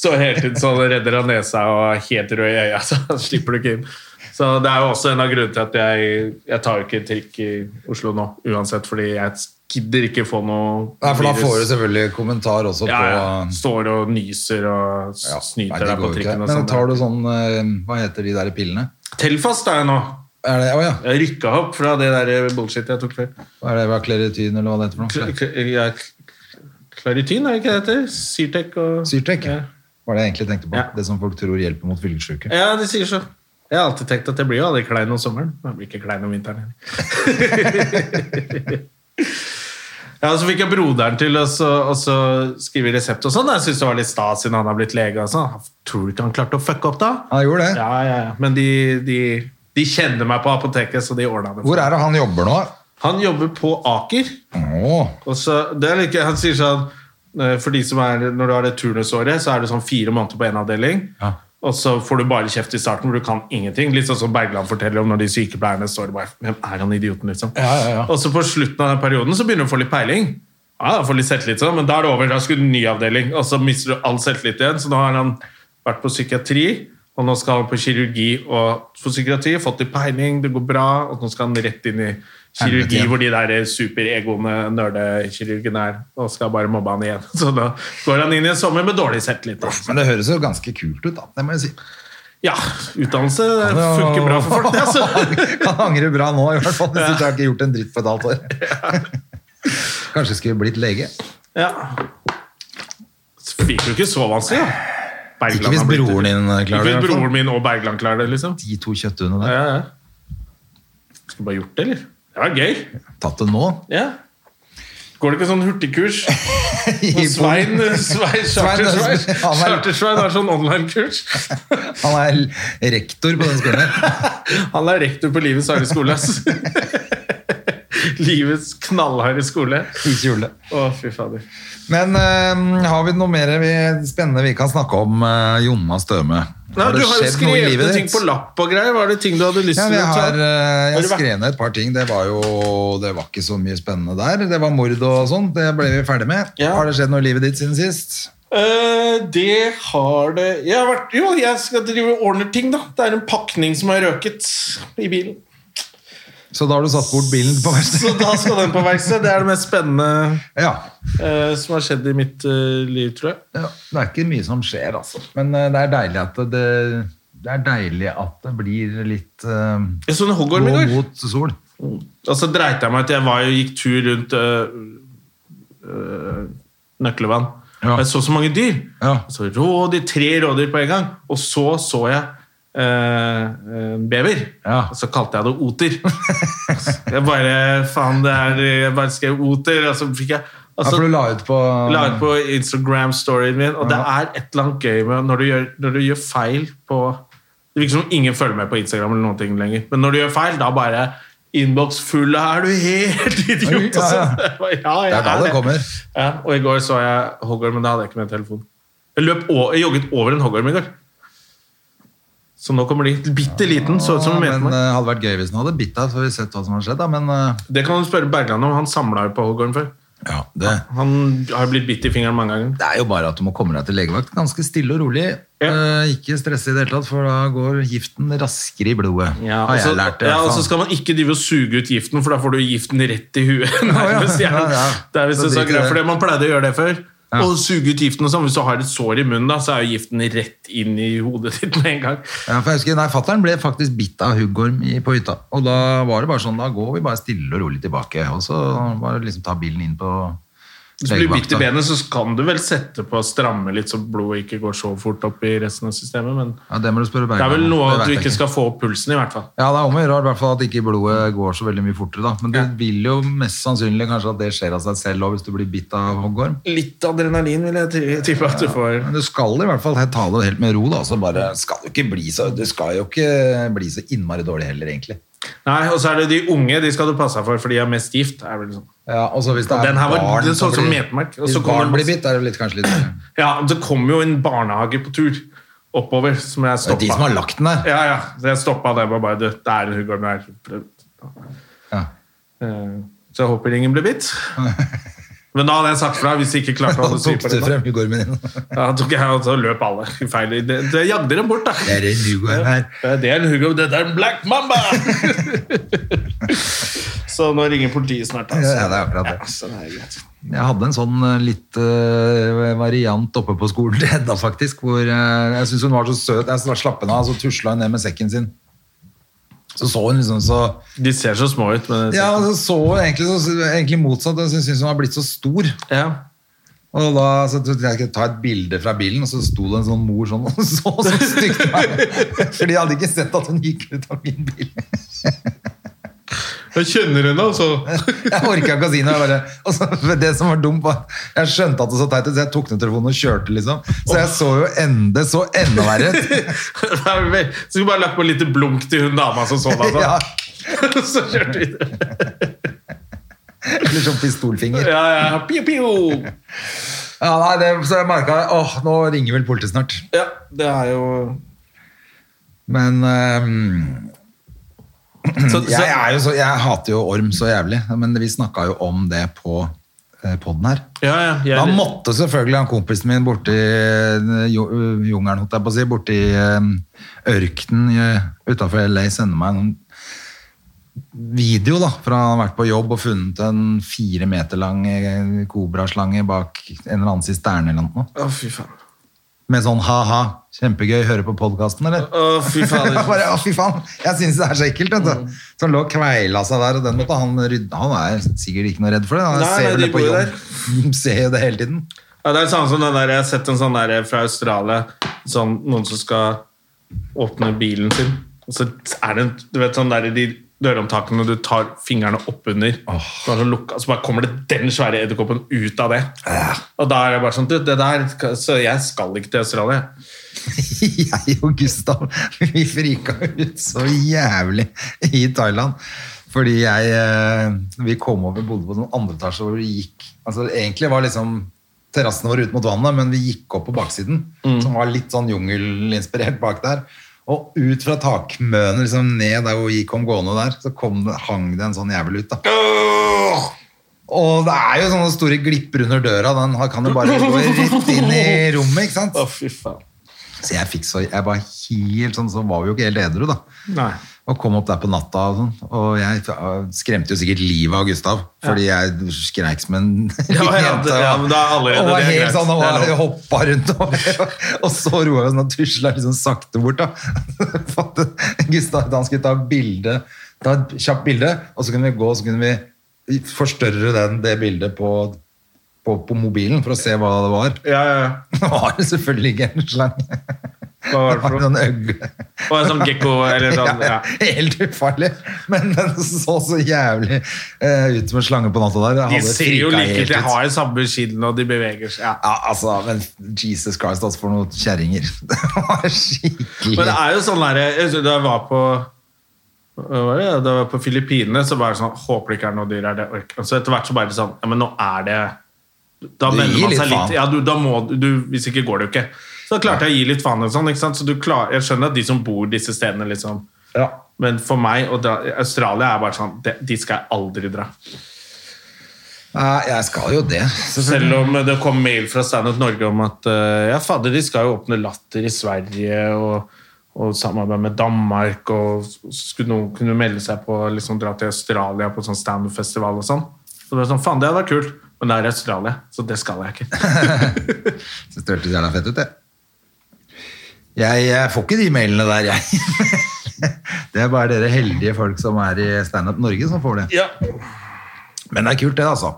A: Så helt inn så redder av nesa og helt rød i øya, så slipper du ikke inn. Så det er jo også en av grunnene til at jeg, jeg tar jo ikke trikk i Oslo nå, uansett, fordi jeg gidder ikke få noe
B: Nei, for da
A: virus.
B: får du selvfølgelig kommentar også
A: ja, ja.
B: på um,
A: Står og nyser og s-
B: Ja, nei,
A: snyter
B: det
A: deg på
B: går jo ikke.
A: trikken. Og
B: Men
A: sånn.
B: tar du sånn eh, Hva heter de der pillene?
A: Telfast er jeg nå.
B: Er det, å ja,
A: Jeg rykka opp fra det der bullshit jeg tok før.
B: er det Claritin eller hva det heter for
A: Kl-
B: noe?
A: kl- ja, kl- Claritin, er det ikke det heter? Syrtec og
B: Syrtec?
A: Ja.
B: Var det jeg egentlig tenkte på.
A: Ja.
B: Det som folk tror hjelper mot fyllesyke.
A: ja, de sier så. Jeg har alltid tenkt at jeg blir jo aldri klein om sommeren. Jeg blir ikke klein om vinteren. heller. Ja, og Så fikk jeg broderen til å så- og så skrive resept og sånn. Jeg synes det var litt stas siden han har blitt lege. og sånn. Tror du ikke han klarte å fucke opp da?
B: Han gjorde det.
A: Ja, ja, ja. Men de, de, de kjenner meg på apoteket, så de ordna det.
B: Hvor er det han jobber nå?
A: Han jobber på Aker.
B: Åh,
A: Og så, det er like, han sier sånn eh, For de som er, Når du har det turnusåret, så er det sånn fire måneder på én avdeling.
B: Ja.
A: Og så får du bare kjeft i starten, for du kan ingenting. Litt sånn som Bergland forteller om når de sykepleierne står og bare Hvem er han idioten, liksom?
B: Ja, ja, ja.
A: Og så på slutten av den perioden så begynner du å få litt peiling. Ja, da får du litt selvtillit, sånn, men da er det over. Da skulle du ny avdeling, og så mister du all selvtillit igjen. Så nå har han vært på psykiatri, og nå skal han på kirurgi og for psykiatri. Fått litt peiling, det går bra, og nå skal han rett inn i
B: Helvete,
A: kirurgi
B: ja.
A: hvor de der superegoene nerdekirurgene er, og skal bare mobbe han igjen. Så da går han inn i en sommer med dårlig selvtillit. da.
B: men det høres jo ganske kult ut, da. Det må jeg si.
A: Ja, utdannelse
B: Ja.
A: funker bra for folk, det, altså.
B: Kan angre bra nå, i hvert fall. Hvis ikke jeg har ikke gjort en dritt på et halvt år. Kanskje skulle blitt lege.
A: Ja. Så Fikk jo ikke så vanskelig, da. Bergland
B: Ikke hvis
A: har blitt-
B: broren din eh,
A: Ikke
B: klarer det. i
A: hvis
B: hvert fall.
A: broren min og Bergland klarer det, liksom.
B: De to kjøtthuene
A: Ja,
B: der.
A: ja. ja. Skulle bare gjort det, eller? Det var gøy.
B: Tatt det nå.
A: Ja. Går det ikke sånn hurtigkurs? Og Svein, Svein Charter-Svein
B: Han er-
A: Charter-Svein har sånn online-kurs.
B: Han er l- rektor på den skolen. her.
A: Han er rektor på Livets harde skole, ass. Livets knallharde skole.
B: I kjole.
A: Å, fy fader.
B: Men eh, har vi noe mer vi, spennende vi kan snakke om eh, Jonna Støme?
A: Nei, du har jo skrevet ned ting
B: ditt?
A: på lapp og greier. Var det ting du hadde lyst
B: Ja,
A: til
B: men jeg
A: å ta?
B: har, eh,
A: Har
B: jeg
A: du vært-
B: skrev ned et par ting. Det var jo det var ikke så mye spennende der. Det var mord og sånn. Det ble vi ferdig med.
A: Ja.
B: Har det skjedd noe i livet ditt siden sist?
A: Eh, det har det Jeg har vært Jo, jeg skal drive og ordner ting, da. Det er en pakning som har røket i bilen.
B: Så da har du satt bort bilen på verkstedet?
A: Så da skal den på verksted. Det er det mest spennende
B: Ja.
A: eh, som har skjedd i mitt eh, liv, tror jeg.
B: ja. Det er ikke mye som skjer, altså. Men eh, det er deilig at det, det, er deilig at det blir litt eh,
A: Jeg så en hoggorm i
B: gå
A: går.
B: mot sol.
A: Og så dreit jeg meg ut. Jeg var jo, gikk tur rundt øh, øh, Nøklevann.
B: Ja.
A: Og jeg så så mange dyr.
B: Ja.
A: Jeg Så rådyr, Tre rådyr på en gang. Og så så jeg øh, en bever.
B: Ja.
A: Og så kalte jeg det oter. jeg bare Faen, det er Jeg bare skrev oter, og så fikk jeg
B: Ja,
A: altså,
B: for du la ut på
A: La ut på Instagram-storyen min, og det er et eller annet gøy med når du gjør, når du gjør feil på Det virker som ingen følger med på Instagram eller noen ting lenger, men når du gjør feil, da bare innboks full av Er du helt idiot?
B: Ja, ja.
A: Og så- ja, jeg
B: Det er da det kommer.
A: Ja, og i går så jeg hoggorm, men da hadde jeg ikke med telefon. Jeg, løp o- jeg jogget over en hoggorm i går. Så nå kommer de. Bitte liten, så ut som en
B: Ja, men
A: metemark.
B: eh, hadde vært gøy hvis den hadde bitt deg, så hadde vi sett hva som har skjedd. Da. Men eh,
A: Det kan du spørre Bergland om. Han samla jo på hoggorm før.
B: ja, det,
A: Han har blitt bitt i fingeren mange ganger.
B: det er jo bare at du må komme deg til legevakt ganske stille og rolig.
A: Ja.
B: Eh, ikke stresse i det hele tatt, for da går giften raskere i blodet.
A: Ja,
B: har
A: og så-
B: jeg lært det.
A: ja,
B: i hvert
A: og så
B: fall.
A: skal man ikke drive og suge ut giften, for da får du giften rett i huet. nærmest.
B: ja, ja, ja.
A: Det er visst
B: Da
A: en
B: driter
A: sånn greie,
B: jeg.
A: for det man pleide å gjøre det før. Og suge ut giften og sånn. Hvis du har et sår i munnen, da, så er jo giften rett inn i hodet ditt med en gang.
B: Ja, for jeg husker, nei, Fattern ble faktisk bitt av huggorm i, på hytta. Og da var det bare sånn, da går vi bare stille og rolig tilbake. Og så bare liksom ta bilen inn på
A: Hvis du blir bitt i
B: legevakta.
A: benet, så kan du vel sette på å stramme litt, så blodet ikke går så fort opp i resten av systemet, men
B: Ja, det må du spørre
A: det er
B: Bergman.
A: vel
B: om,
A: noe
B: det
A: at du
B: vet jeg
A: ikke skal få opp pulsen, i hvert fall.
B: Ja, det er om å gjøre i hvert fall at ikke blodet går så veldig mye fortere. da. Men det
A: Ja.
B: vil jo mest sannsynlig kanskje at det skjer av seg selv også hvis du blir bitt av hoggorm.
A: Litt adrenalin vil jeg tri- tippe at du får.
B: Men du skal i hvert fall he- ta det helt med ro. da, så bare skal jo ikke bli så, Det skal jo ikke bli så innmari dårlig heller, egentlig.
A: Nei, og så er det de unge, de skal du passe deg for, for de er mest gift, er vel sånn.
B: Ja, og så hvis det
A: Og
B: er
A: den her var-
B: barn
A: den så ut som
B: blir-
A: metemark, og
B: Hvis
A: så kom
B: barn
A: det
B: blir
A: masse-
B: bitt, er det litt, kanskje litt
A: Ja, men det kom jo en barnehage på tur oppover, som jeg
B: Det er
A: stoppa.
B: de som har lagt den der.
A: Ja, ja. Så jeg stoppa det. Var bare, du, det er en huggorm her.
B: Ja.
A: Eh, Så jeg håper ingen blir bitt. Men da hadde jeg sagt fra hvis de ikke klarte å
B: Da
A: holde styr
B: tok
A: på
B: du
A: det. da.
B: frem huggormen din.
A: Ja, Da tok jeg og så løp alle i feil Det, det jagde dem bort, da.
B: Det er en huggorm her.
A: Ja, Det er en huggorm. Det er en black mamba! Så nå ringer politiet snart. altså.
B: Ja, det er akkurat det.
A: Ja, så det er greit.
B: Jeg hadde en sånn eh, litt eh, variant oppe på skolen til Hedda, faktisk. Hvor eh, jeg syntes hun var så søt. Jeg sla- slapp henne av, så tusla hun ned med sekken sin. Så så hun liksom så
A: De ser så små ut, men
B: Ja, så så hun egentlig, så, egentlig motsatt. Altså, Jeg syns hun har blitt så stor.
A: ja.
B: Og da så trodde jeg jeg skulle ta et bilde fra bilen, og så sto det en sånn mor sånn og så så stygt på meg. For de hadde ikke sett at hun gikk ut av min bil.
A: Jeg kjenner henne, altså.
B: Jeg orka ikke å si noe. Jeg bare, og så, for det som var dumt, var jeg skjønte at det så teit ut, så jeg tok ned telefonen og kjørte, liksom. Så jeg så jo enda, det så enda verre ut.
A: Det er vel- Så skulle bare lagt på et lite blunk til hun dama som så deg. sånn.
B: Ja,
A: så kjørte vi videre.
B: eller sånn pistolfinger.
A: Ja, ja. Piu, piu.
B: Ja, nei, det, så jeg merka Åh, nå ringer vel politiet snart.
A: Ja, det er jo
B: Men ehm,
A: så, så,
B: jeg, er jo så, jeg hater jo orm så jævlig, men vi snakka jo om det på eh, podden her.
A: Ja, ja. Jeg,
B: Da måtte selvfølgelig han kompisen min borti eh, jo- jungelen, holdt jeg på å si, borti eh, ørkenen utafor LA sende meg noen video da, fra han har vært på jobb og funnet en fire meter lang eh, kobraslange bak en eller annen sisterne eller noe.
A: Å, fy faen.
B: Med sånn ha-ha, kjempegøy, høre på podkasten, eller?
A: Å, fy faen.
B: Jeg bare, å fy faen, jeg synes det er så ekkelt, vet
A: Mm.
B: du. Så han lå og kveila seg der, og den måtte han rydde. Han er sikkert ikke noe redd for det. Han
A: Nei,
B: ser
A: nei,
B: jo
A: de
B: det på
A: bor jo
B: jobb. De ser jo det hele tiden.
A: Ja, det er det samme som den der, Jeg har sett en sånn der fra Australia. Sånn, noen som skal åpne bilen sin. Og så er det en, du vet, sånn der i de dørhåndtakene du tar fingrene oppunder. Oh. Så, lukka, så bare kommer det den svære edderkoppen ut av det. Og da er det bare sånn du, det der, skal- Så jeg skal ikke til Australia.
B: jeg og Gustav vi frika ut så jævlig i Thailand. Fordi jeg, eh, vi kom over bodde på sånn andre etasje hvor vi gikk altså Egentlig var liksom terrassen vår ut mot vannet, men vi gikk opp på baksiden, som var litt sånn jungelinspirert bak der. Og ut fra takmønet, liksom ned der hvor vi kom gående der, så kom det, hang det en sånn jævel ut. da. Og det er jo sånne store glipper under døra, den har- kan jo bare gå rett inn i rommet, ikke sant?
A: Å, fy faen.
B: Så jeg fikk så, jeg var helt sånn, så var vi jo ikke helt edru da.
A: Nei.
B: Og kom opp der på natta og sånn. Og jeg ja, skremte jo sikkert livet av Gustav, fordi jeg skreik som en liten
A: Ja, ja, det-
B: jente.
A: ja,
B: og-
A: men da er allerede
B: og var
A: det
B: helt
A: greit.
B: sånn, og
A: Det er
B: var,
A: lov.
B: hoppa rundt og, og så roa vi oss og tusla liksom sakte bort. da. For at Gustav da han skulle ta bilde, ta et kjapt bilde, og så kunne vi gå og så kunne vi forstørre den, det bildet på, på, på mobilen for å se hva det var.
A: Ja, ja, ja.
B: Det var det selvfølgelig ikke en slange.
A: Hva var det for noe?
B: en øgle.
A: Og en sånn gekko eller
B: Ja,
A: sånn. Ja.
B: Helt ufarlig. Men den så så jævlig eh, ut som en slange på natta der. Jeg
A: De
B: hadde
A: ser jo
B: frika
A: like ut.
B: helt
A: De
B: ut.
A: har jo samme skinn, og de beveger seg. Ja.
B: Ja, altså, men Jesus Christ, altså, for noen kjerringer. Det var skikkelig
A: Men det er jo sånn der, jeg husker Da jeg var på hva var det? Da jeg var på Filippinene, så var det sånn Håper det ikke er noe dyr her. det orker jeg». Så etter hvert så bare sånn Ja, men nå er det Da
B: Du
A: venner
B: gir
A: man
B: litt
A: seg litt,
B: faen.
A: Ja, du, da må du Hvis ikke går det jo ikke. Så da klarte jeg å gi litt faen. og Sånn, ikke sant? Så du klar, jeg skjønner at de som bor disse stedene, liksom
B: Ja.
A: Men for meg og da, Australia er bare sånn de, Dit skal jeg aldri dra.
B: Nei, jeg skal jo det. selvfølgelig.
A: Selv om det kom mail fra Stand Up Norge om at eh, ja, fader, de skal jo åpne Latter i Sverige og, og samarbeide med Danmark, og skulle noen kunne melde seg på liksom dra til Australia på sånn standup-festival og sånn. Så det var sånn, faen, det hadde vært kult, men det er Australia, så det skal jeg ikke.
B: Synes det hørtes jævla fett ut, det. Jeg, jeg får ikke de mailene der, jeg. Det er bare dere heldige folk som er i Standup Norge som får det.
A: Ja.
B: Men det er kult, det, altså.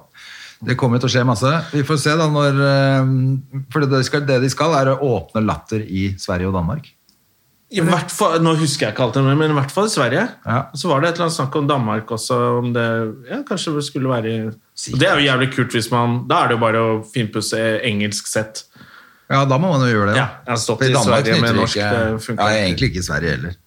B: Det kommer til å skje masse. Vi får se da når eh, For det, skal, det de skal, er å åpne Latter i Sverige og Danmark.
A: I hvert fall, nå husker jeg ikke alt det, men i hvert fall i Sverige.
B: Ja.
A: Så var det et eller annet snakk om Danmark også, om det ja, kanskje det skulle være i Og Det er jo jævlig kult hvis man Da er det jo bare å finpusse engelsk sett.
B: Ja, da må man jo gjøre det.
A: Ja, jeg har stått
B: For
A: i Sverige
B: knytter
A: med
B: vi
A: norsk, det
B: ikke,
A: funker
B: Ja,
A: ikke.
B: egentlig ikke i Sverige heller.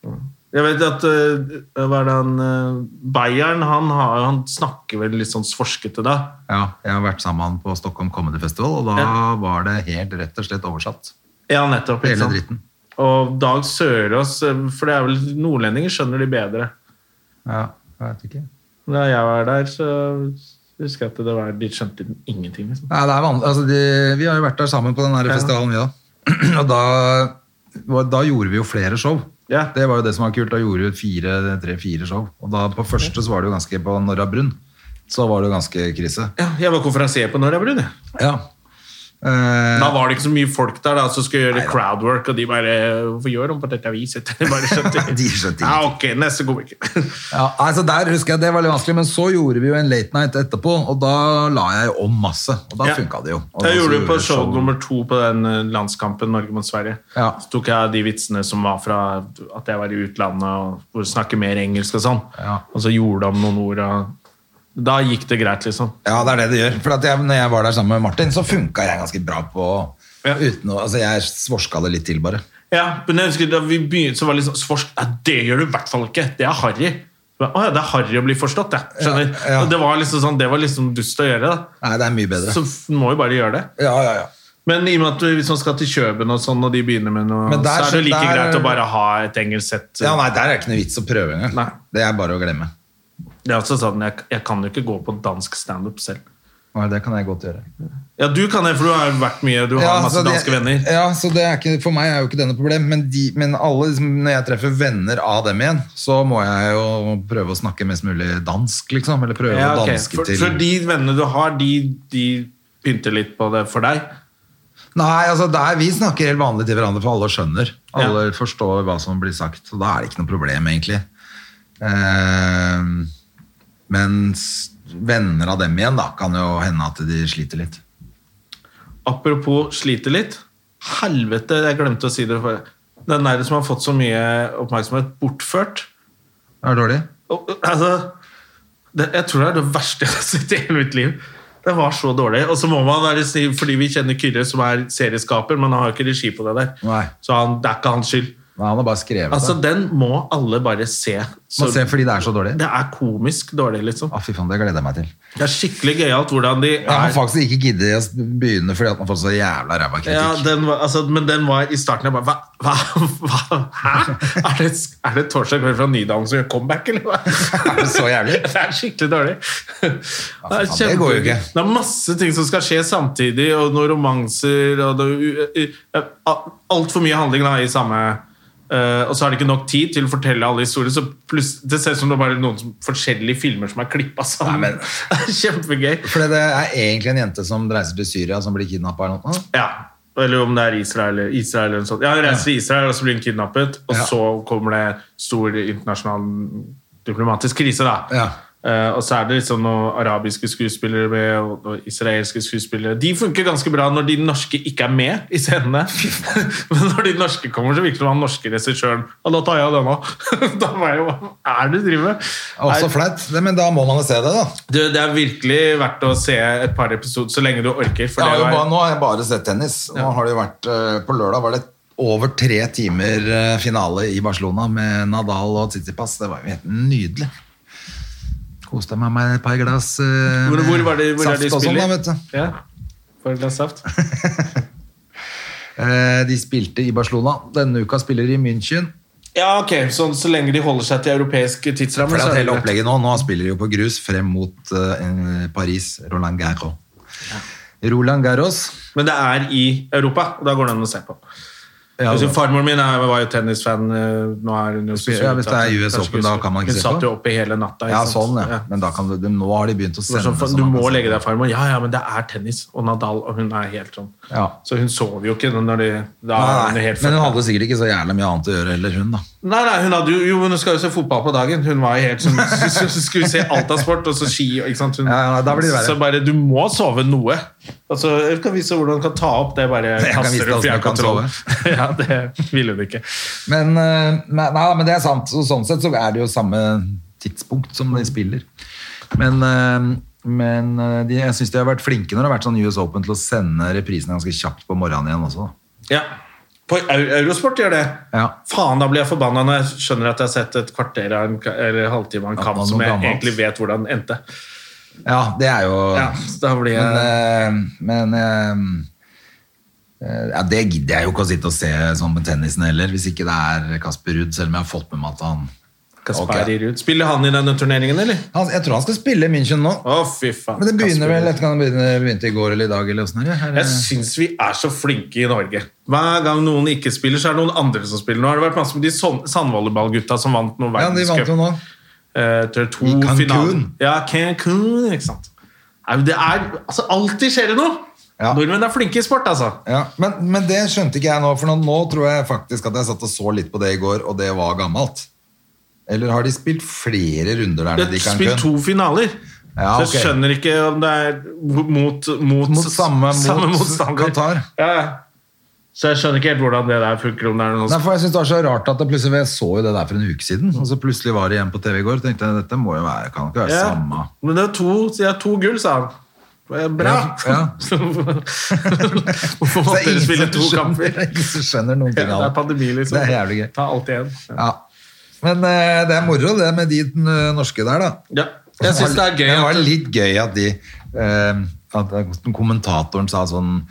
A: Jeg vet at eh, hva er det han, eh, Bayern han, har, han snakker vel litt sånn forskete da.
B: Ja, jeg har vært sammen med han på Stockholm Comedy Festival, og da
A: Ja.
B: var det helt rett og slett oversatt.
A: Ja, nettopp. ikke
B: Hele
A: sant?
B: dritten.
A: Og Dag Sørås, eh, for det er vel nordlendinger skjønner de bedre.
B: Ja, jeg vet ikke.
A: Da jeg var der, så husker jeg at det var, de skjønte ingenting. liksom.
B: Nei, det er vanlig. Altså, de, vi har jo vært der sammen på den her festivalen, vi da. Og da, var- da gjorde vi jo flere show.
A: Ja.
B: Det var jo det som var kult. Da gjorde vi fire, tre-fire show. Og da på første så var det jo ganske på Norra Brunn. Så var det jo ganske krise.
A: Ja, jeg var konferansier på Norra Brun. jeg.
B: Ja. Eh,
A: Da var det ikke så mye folk der da, som skulle gjøre crowdwork, og de bare Hvorfor gjør de på dette viset? De bare skjønte
B: De skjønte
A: Ja, ok, neste komiker.
B: Ja, altså der husker jeg det var litt vanskelig, men så gjorde vi jo en late night etterpå, og da la jeg jo om masse, og da
A: Ja.
B: funka det jo. Og da
A: Jeg
B: så
A: gjorde det på
B: vi
A: show nummer to på den eh, landskampen Norge mot Sverige.
B: Ja.
A: Så tok jeg de vitsene som var fra at jeg var i utlandet og hvor jeg snakker mer engelsk og sånn.
B: Ja.
A: Og så gjorde de noen ord. Og da gikk det greit, liksom.
B: Ja, det er det det gjør. For at jeg, når jeg var der sammen med Martin, så funka jeg ganske bra på
A: Ja.
B: uten å Altså, jeg svorska det litt til, bare.
A: Ja, men jeg husker Da vi begynte, så var det litt sånn Svorsk, ja, det gjør du i hvert fall ikke! Det er harry. Så bare, Å ja, det er harry å bli forstått, ja. Skjønner.
B: Ja, ja.
A: Og det var liksom sånn, det var liksom dust å gjøre, da.
B: Nei, det er mye bedre.
A: Så f- må jo bare gjøre det.
B: Ja, ja, ja.
A: Men i og med at du- hvis man skal til Kjøben og sånn, og de begynner med noe,
B: Men der-
A: så er det jo like
B: der-
A: greit å bare ha et engelsk sett.
B: Ja, nei, Der er det ikke noe vits å prøve engang.
A: Nei.
B: Det er bare å glemme.
A: Det er også sånn, jeg, jeg kan jo ikke gå på dansk standup selv.
B: Nei, det kan jeg godt gjøre.
A: Ja, du kan det, for du har jo vært mye, du har masse
B: så det-
A: danske venner.
B: Ja, så det er ikke, For meg er jo ikke denne problem, men, de, men alle, liksom, når jeg treffer venner av dem igjen, så må jeg jo prøve å snakke mest mulig dansk, liksom. Eller prøve
A: Ja,
B: å
A: ok.
B: danske
A: for,
B: til
A: for de vennene du har, de, de pynter litt på det for deg.
B: Nei, altså der, vi snakker helt vanlig til hverandre, for alle skjønner. Alle forstår hva som blir sagt, så da er det ikke noe problem, egentlig. Ehm, mens venner av dem igjen, da, kan jo hende at de sliter litt.
A: Apropos sliter litt. Helvete, jeg glemte å si det. For. Den der som har fått så mye oppmerksomhet, bortført.
B: Er det dårlig?
A: Og, altså, det, jeg tror det er det verste jeg har sett i hele mitt liv. Det var så dårlig. Og så må man være snill, fordi vi kjenner Kyrre som er serieskaper, men han har jo ikke regi på det der.
B: Nei.
A: Så han, det er ikke hans skyld.
B: Nei, han har bare skrevet
A: Altså,
B: det.
A: den må alle bare se.
B: Man ser fordi det er så dårlig.
A: Det er komisk dårlig, liksom.
B: Å, fy faen, det gleder jeg meg til.
A: Det er skikkelig gøyalt hvordan de
B: Jeg har
A: er.
B: faktisk ikke giddet å s- begynne fordi at man har fått så jævla ræva
A: Ja,
B: kritikk.
A: den var, altså, men den var i starten jeg bare Hva? hva, hva hæ? Er det, er det Torsdag kveld fra Nydalen som gjør comeback, eller hva?
B: Er det så jævlig?
A: Det er skikkelig dårlig.
B: for
A: er
B: faen, det går jo ikke.
A: kjempe- Det er masse ting som skal skje samtidig, og noen romanser og det- Altfor mye handling da, i samme eh, og så har de ikke nok tid til å fortelle alle historier, så pluss- det ser ut som det er bare noen som, forskjellige filmer som er klippa
B: Nei,
A: sammen.
B: men-
A: Kjempegøy.
B: For det er egentlig en jente som reiser til Syria, som blir kidnappa eller noe.
A: Ja. Eller om det er Israel, Israel eller noe sånt. Ja, hun reiser til Israel, og så blir hun kidnappet. Og
B: Ja.
A: så kommer det stor internasjonal diplomatisk krise, da.
B: Ja.
A: Eh, og så er det liksom noen arabiske skuespillere med, og, og israelske skuespillere. De funker ganske bra når de norske ikke er med i scenene. Men når de norske kommer, så virker det som han norske regissøren Ja, da tar jeg denne. da var jeg jo Hva er det du driver med?
B: Ah, Også
A: Nei,
B: flaut, det- men da må man jo se det, da.
A: du, det er virkelig verdt å se et par episoder så lenge du orker. For
B: Jeg har
A: det
B: jo
A: var-
B: bare, nå har jeg bare sett tennis. Nå har det jo vært, eh, på lørdag var det over tre timer eh, finale i Barcelona med Nadal og Tsitsipas. Det var jo helt nydelig. Koste meg med et par glass eh,
A: Hvor, hvor var det,
B: med
A: hvor er de
B: saft og sånn,
A: spiller?
B: da, vet du.
A: Ja. For et glass saft.
B: Eh, De spilte i Barcelona. Denne uka spiller de i München.
A: Ja, ok. Så, så lenge de holder seg til europeisk tidsramme,
B: For
A: så
B: det
A: er
B: hele
A: det greit.
B: opplegget nå, nå spiller de jo på grus frem mot eh, en- Paris, Roland Garros. Roland Garros.
A: Men det er i Europa, og da går det an å se på.
B: Ja,
A: Jeg synes
B: da.
A: Farmoren min er, var jo tennisfan. eh, Nå er hun jo
B: Spiller- ja, hvis det er US Open, da kan man ikke se
A: Hun
B: på.
A: satt jo oppe hele natta. ikke
B: ja,
A: sant?
B: sånn, ja. Men da kan du, de- nå har de begynt å
A: Det var
B: sende
A: Sånn,
B: så
A: du
B: man
A: må
B: kan se
A: legge
B: det.
A: deg, farmor. Ja, ja, men det er tennis. Og Nadal, og hun er helt sånn.
B: Ja.
A: Så hun sov jo ikke når de da er
B: Nei,
A: hun
B: nei,
A: helt
B: men hun
A: fucked.
B: hadde sikkert ikke så jævlig mye annet å gjøre heller, hun da.
A: Nei, nei, hun hadde jo, jo, hun skal jo se fotball på dagen. Hun var jo helt sånn, hun skulle se alt av sport, og så ski. og- Ikke sant? Hun,
B: Ja, ja, da blir det verre.
A: Så bare, du må sove noe. Altså, jeg kan vise hvordan hun kan ta opp det, bare
B: Jeg kan vise deg
A: kaster det
B: hvordan du kan
A: fjernkontroll. ja, det ville hun ikke.
B: Men, eh, men, nei, men det er sant. Så, sånn sett så er det jo samme tidspunkt som de spiller. Men, eh, men eh, de, jeg syns de har vært flinke når det har vært sånn US Open til å sende reprisene ganske kjapt på morgenen igjen også. da.
A: Ja. På Eu- Eurosport gjør det.
B: Ja.
A: Faen, da blir jeg forbanna når jeg skjønner at jeg har sett et kvarter av en, ka- eller halvtime av en
B: Ja,
A: kamp
B: noe
A: som jeg
B: gammelt.
A: egentlig vet hvordan endte.
B: Ja, det er jo
A: Ja, så da blir jeg...
B: Men, eh, men eh, eh, ja, det gidder jeg jo ikke å sitte og se sånn med tennisen heller, hvis ikke det er Kasper Ruud, selv om jeg har fått med meg at han
A: Kasperi
B: ok.
A: Ruud. Spiller han i denne turneringen, eller?
B: Han- Jeg tror han skal spille i München nå.
A: Å, fy faen.
B: Men det begynner
A: Kasper
B: vel
A: Ruud.
B: etter kan det begynne- begynte i går eller i dag eller åssen er det? Er det-
A: Jeg syns vi er så flinke i Norge. Hver gang noen ikke spiller, så er det noen andre som spiller. Nå har det vært masse med de sånn- sandvolleyballgutta som vant noen
B: Ja, de vant jo
A: verdenscup.
B: nå.
A: eh, til to
B: I Cancun.
A: finaler. Ja, Cancun, ikke sant. Nei, men Det er altså, Alltid skjer det noe!
B: Ja.
A: Nordmenn er flinke i sport, altså.
B: Ja, men, men det skjønte ikke jeg nå, for nå, nå tror jeg faktisk at jeg satt og så litt på det i går, og det var gammelt. Eller har de spilt flere runder der
A: Det
B: nede
A: er
B: i Cancun?
A: spilt to finaler.
B: Ja,
A: Så jeg
B: ok.
A: skjønner ikke om det er mot, mot,
B: Mot samme- mot
A: motstander.
B: Qatar.
A: Ja. ja. Så jeg skjønner ikke helt hvordan det der funker. Om det er noen
B: Nei, for jeg synes det var så rart at det plutselig, jeg så jo det der for en uke siden, og så plutselig var det igjen på TV i går, tenkte jeg, dette må jo være, kan ikke være
A: Ja.
B: samme.
A: Men det er to, så jeg har to gull, sa han. Eh, Bra!
B: Ja, ja. Så
A: Hvorfor
B: det er
A: måtte dere
B: ingen
A: spille
B: som
A: to
B: skjønner-
A: kamper?
B: Ingen som skjønner noen
A: Ja,
B: ting
A: det er
B: av det.
A: pandemi, liksom.
B: Det er jævlig gøy.
A: Ta alt igjen. Ja.
B: Ja. Men eh, det er moro det med de eh, norske der da.
A: Jeg syns det er gøy
B: Det var
A: at
B: litt gøy at de eh, at kommentatoren sa sånn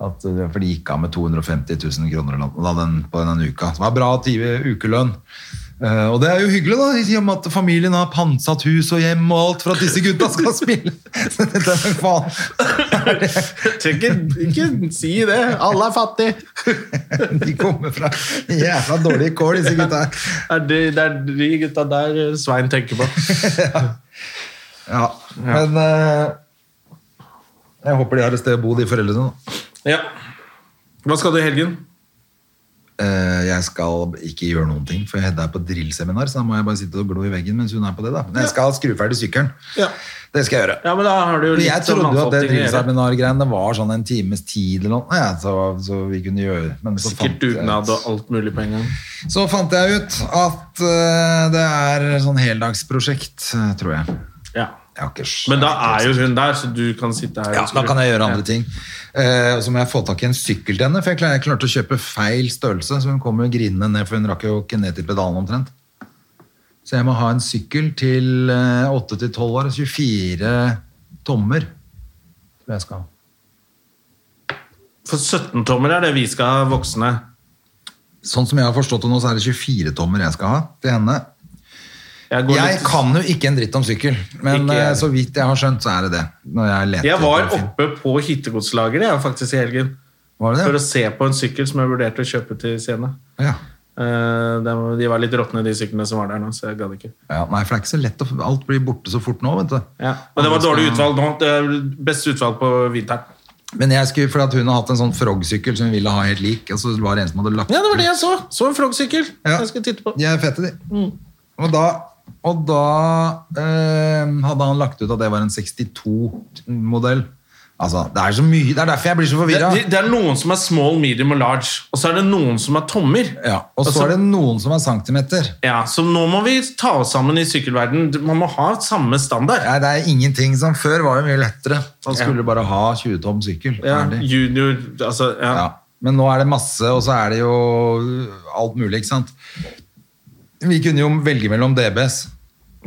B: at, eh, for de gikk av med 250 000 kroner eller noe da, den, på denne uka. Det var bra tive- ukelønn. Eh, og det er jo hyggelig, da, i og med at familien har pantsatt hus og hjem og alt for at disse gutta skal spille. Så dette er for faen.
A: Trenger ikke si det. Alle er fattige.
B: De kommer fra jævla dårlige kår, disse gutta.
A: Det er de, det er de gutta der eh, Svein tenker på.
B: Ja, men eh, jeg håper de har et sted å bo, de foreldrene. da.
A: Ja. Hva skal du i helgen?
B: Eh, jeg skal ikke gjøre noen ting, for Hedda er på drillseminar, så da må jeg bare sitte og glo i veggen mens hun er på det. da. Men jeg skal skru ferdig sykkelen.
A: Ja.
B: Det skal jeg gjøre.
A: Ja, men da har du jo
B: Men
A: litt
B: jeg
A: sånn
B: trodde jo at det
A: mannfolk ting å gjøre.
B: drillseminargreiene var sånn en times tid eller noe, ja, så, så vi kunne gjøre men så
A: Sikkert dugnad og alt mulig på en gang.
B: Jeg, så fant jeg ut at eh, det er sånn heldagsprosjekt, eh, tror jeg.
A: Ja.
B: Jeg har ikke
A: Men da er jo hun der, så du kan sitte her.
B: Ja,
A: og-
B: da kan jeg gjøre andre ting. Eh, og så må jeg få tak i en sykkel til henne, for jeg klar- jeg klarte å kjøpe feil størrelse, så hun kom jo grinende ned, for hun rakk jo ikke ned til pedalen omtrent. Så jeg må ha en sykkel til eh, 8-12 år, 24 tommer. tror jeg skal ha.
A: For 17-tommer er det vi skal ha voksne.
B: Sånn som jeg har forstått det nå, så er det 24 tommer jeg skal ha til henne.
A: Jeg, går
B: Jeg
A: litt-
B: kan jo ikke en dritt om sykkel, men
A: Ikke jeg.
B: eh, så vidt jeg har skjønt, så er det det. Når jeg leter
A: Jeg var
B: etter-
A: oppe på hyttegodslageret jeg, faktisk i helgen
B: Var det
A: for å
B: det?
A: se på en sykkel som jeg vurderte å kjøpe til Siena.
B: Ja.
A: Eh, de- De var litt råtne, de syklene som var der nå, så jeg gadd ikke.
B: Ja, nei, for det er ikke så lett å Alt blir borte så fort nå, vet du.
A: Ja. Men det var dårlig utvalg nå. Det er Best utvalg på vinteren.
B: Men jeg skulle, for at hun har hatt en sånn Frog-sykkel som hun ville ha helt lik, og så var det en som hadde lagt
A: Ja, det var det jeg så. Så en Frog-sykkel.
B: Ja.
A: Jeg skulle titte på.
B: De er fete, de. Og da, og da eh, hadde han lagt ut at det var en 62-modell. Altså, det er så mye, det er derfor jeg blir så
A: Det,
B: forvirra.
A: det- det er noen som er small, medium og large, og så er det noen som er tommer.
B: Ja, og
A: Altså-
B: så er det noen som er centimeter.
A: Ja, Så nå må vi ta oss sammen i sykkelverden. Man må ha samme standard.
B: Nei, det er ingenting som før var jo mye lettere. Han
A: Ja.
B: skulle bare ha 20 tom sykkel.
A: Ja,
B: ferdig.
A: junior, altså ja.
B: Ja. Men nå er det masse, og så er det jo alt mulig, ikke sant? Vi kunne jo velge mellom DBS.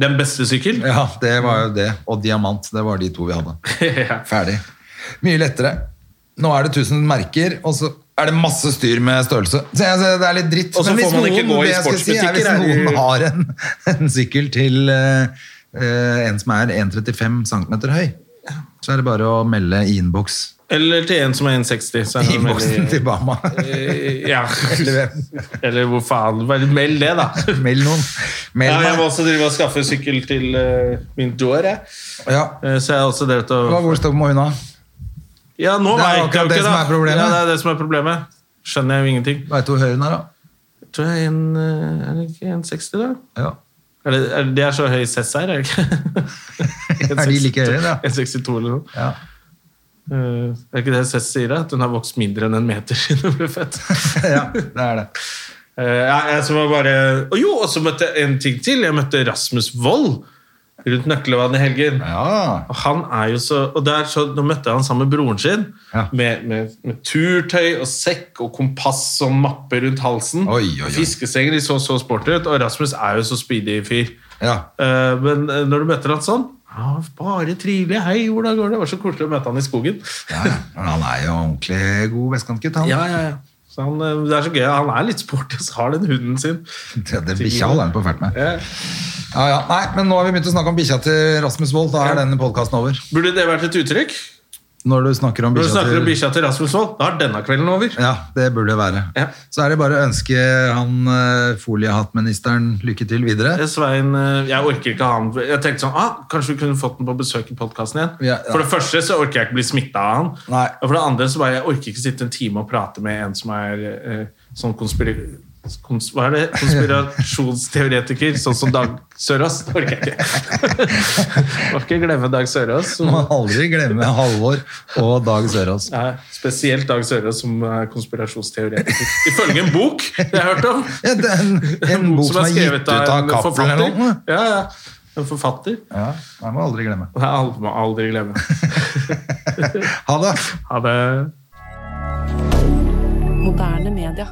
A: Den beste sykkel.
B: Ja, det var jo det. Og diamant. Det var de to vi hadde.
A: Ja.
B: Ferdig. Mye lettere. Nå er det 1000 merker, og så er det masse styr med størrelse. Så jeg, så det er litt dritt.
A: Og så
B: Men hvis
A: får man ikke
B: noen-
A: gå i
B: det jeg skal er
A: sportsbutikker, er
B: Hvis
A: det-
B: noen har en, en sykkel til eh, eh, en som er 1,35 cm høy, så er det bare å melde i innboks.
A: Eller til en som er 1,60. så er
B: I
A: det
B: innboksen
A: veldig-
B: til Bama.
A: Eh, Ja.
B: Eller hvem?
A: Eller hvor faen. Bare meld det, da.
B: Meld noen.
A: Ja,
B: Meld
A: jeg må
B: meg.
A: også drive og skaffe sykkel til eh, min Joar, jeg.
B: Ja.
A: Eh, så jeg har også drevet
B: Hva-
A: og
B: Hvor står må hun ha?
A: Ja, nå
B: Det er
A: vet jeg jo
B: akkurat
A: ikke,
B: det som
A: da.
B: er problemet.
A: Ja, det er det som er problemet. Skjønner jeg jo ingenting.
B: Veit du hvor høy hun er, da?
A: Tror jeg er en, eh, er det ikke 1,60, da?
B: Ja.
A: Er det, er, det er så høy sess her, er det ikke?
B: Er de like høye, da?
A: 1,62 eller noe.
B: ja.
A: Eh, er det ikke det Sess sier? da? At hun har vokst mindre enn en meter siden hun ble født.
B: ja, det er det.
A: Eh, ja, jeg som var bare... Og jo, og så møtte jeg en ting til. Jeg møtte Rasmus Wold rundt Nøklevann i helgen.
B: Ja.
A: Og han er jo så, og der, så Nå møtte jeg han sammen med broren sin,
B: Ja.
A: med, med, med turtøy og sekk og kompass og mappe rundt halsen.
B: Oi, oi, oi.
A: Fiskestenger. De så så sporty ut, og Rasmus er jo så speedy fyr.
B: ja.
A: Eh, men eh, når du møter han sånn ja, Bare trivelig. Hei, hvordan går det? Det var så koselig å møte han i skogen.
B: Ja, ja. Men han er jo ordentlig god vestkantgutt, han.
A: Ja, ja, ja. Så han, eh, det er så gøy. Han er litt sporty og så har den hunden sin.
B: Det, det bikkja holder han på fælt med.
A: Eh,
B: Ja, ja. Nei, men nå har vi begynt å snakke om bikkja til Rasmus Wold. Da er
A: Ja.
B: denne podkasten over.
A: burde det vært et uttrykk?
B: Når du snakker om
A: Når du
B: bikkja
A: snakker om
B: til
A: bikkja til Rasmus Wold, da er denne kvelden over.
B: ja, det burde det være.
A: Ja.
B: Så er det bare å ønske han eh, foliehattministeren lykke til videre.
A: Svein, eh, jeg orker ikke ha han Jeg tenkte sånn, ah, kanskje vi kunne fått den på besøk i podcasten igjen
B: Ja, ja.
A: For det første så orker jeg ikke bli smittet av han
B: Nei.
A: Og for det andre så bare, jeg orker ikke sitte en time og prate med en som er eh, Sånn konspira... Kons, hva er det? Konspirasjonsteoretiker Sånn som Dag Sørås Det orker jeg ikke Må ikke glemme Dag Sørås som,
B: Må aldri glemme Halvor og Dag Sørås.
A: Nei, Spesielt Dag Sørås som er konspirasjonsteoretiker Ifølge en bok jeg har hørt om
B: Ja, det er en, en bok som er gitt ut av
A: en
B: Cappelen eller noe.
A: forfatter. Ja, ja. En forfatter
B: Ja, det må aldri glemme.
A: Det er alt man aldri glemmer.
B: Ha det!
A: Ha det.
D: Moderne media.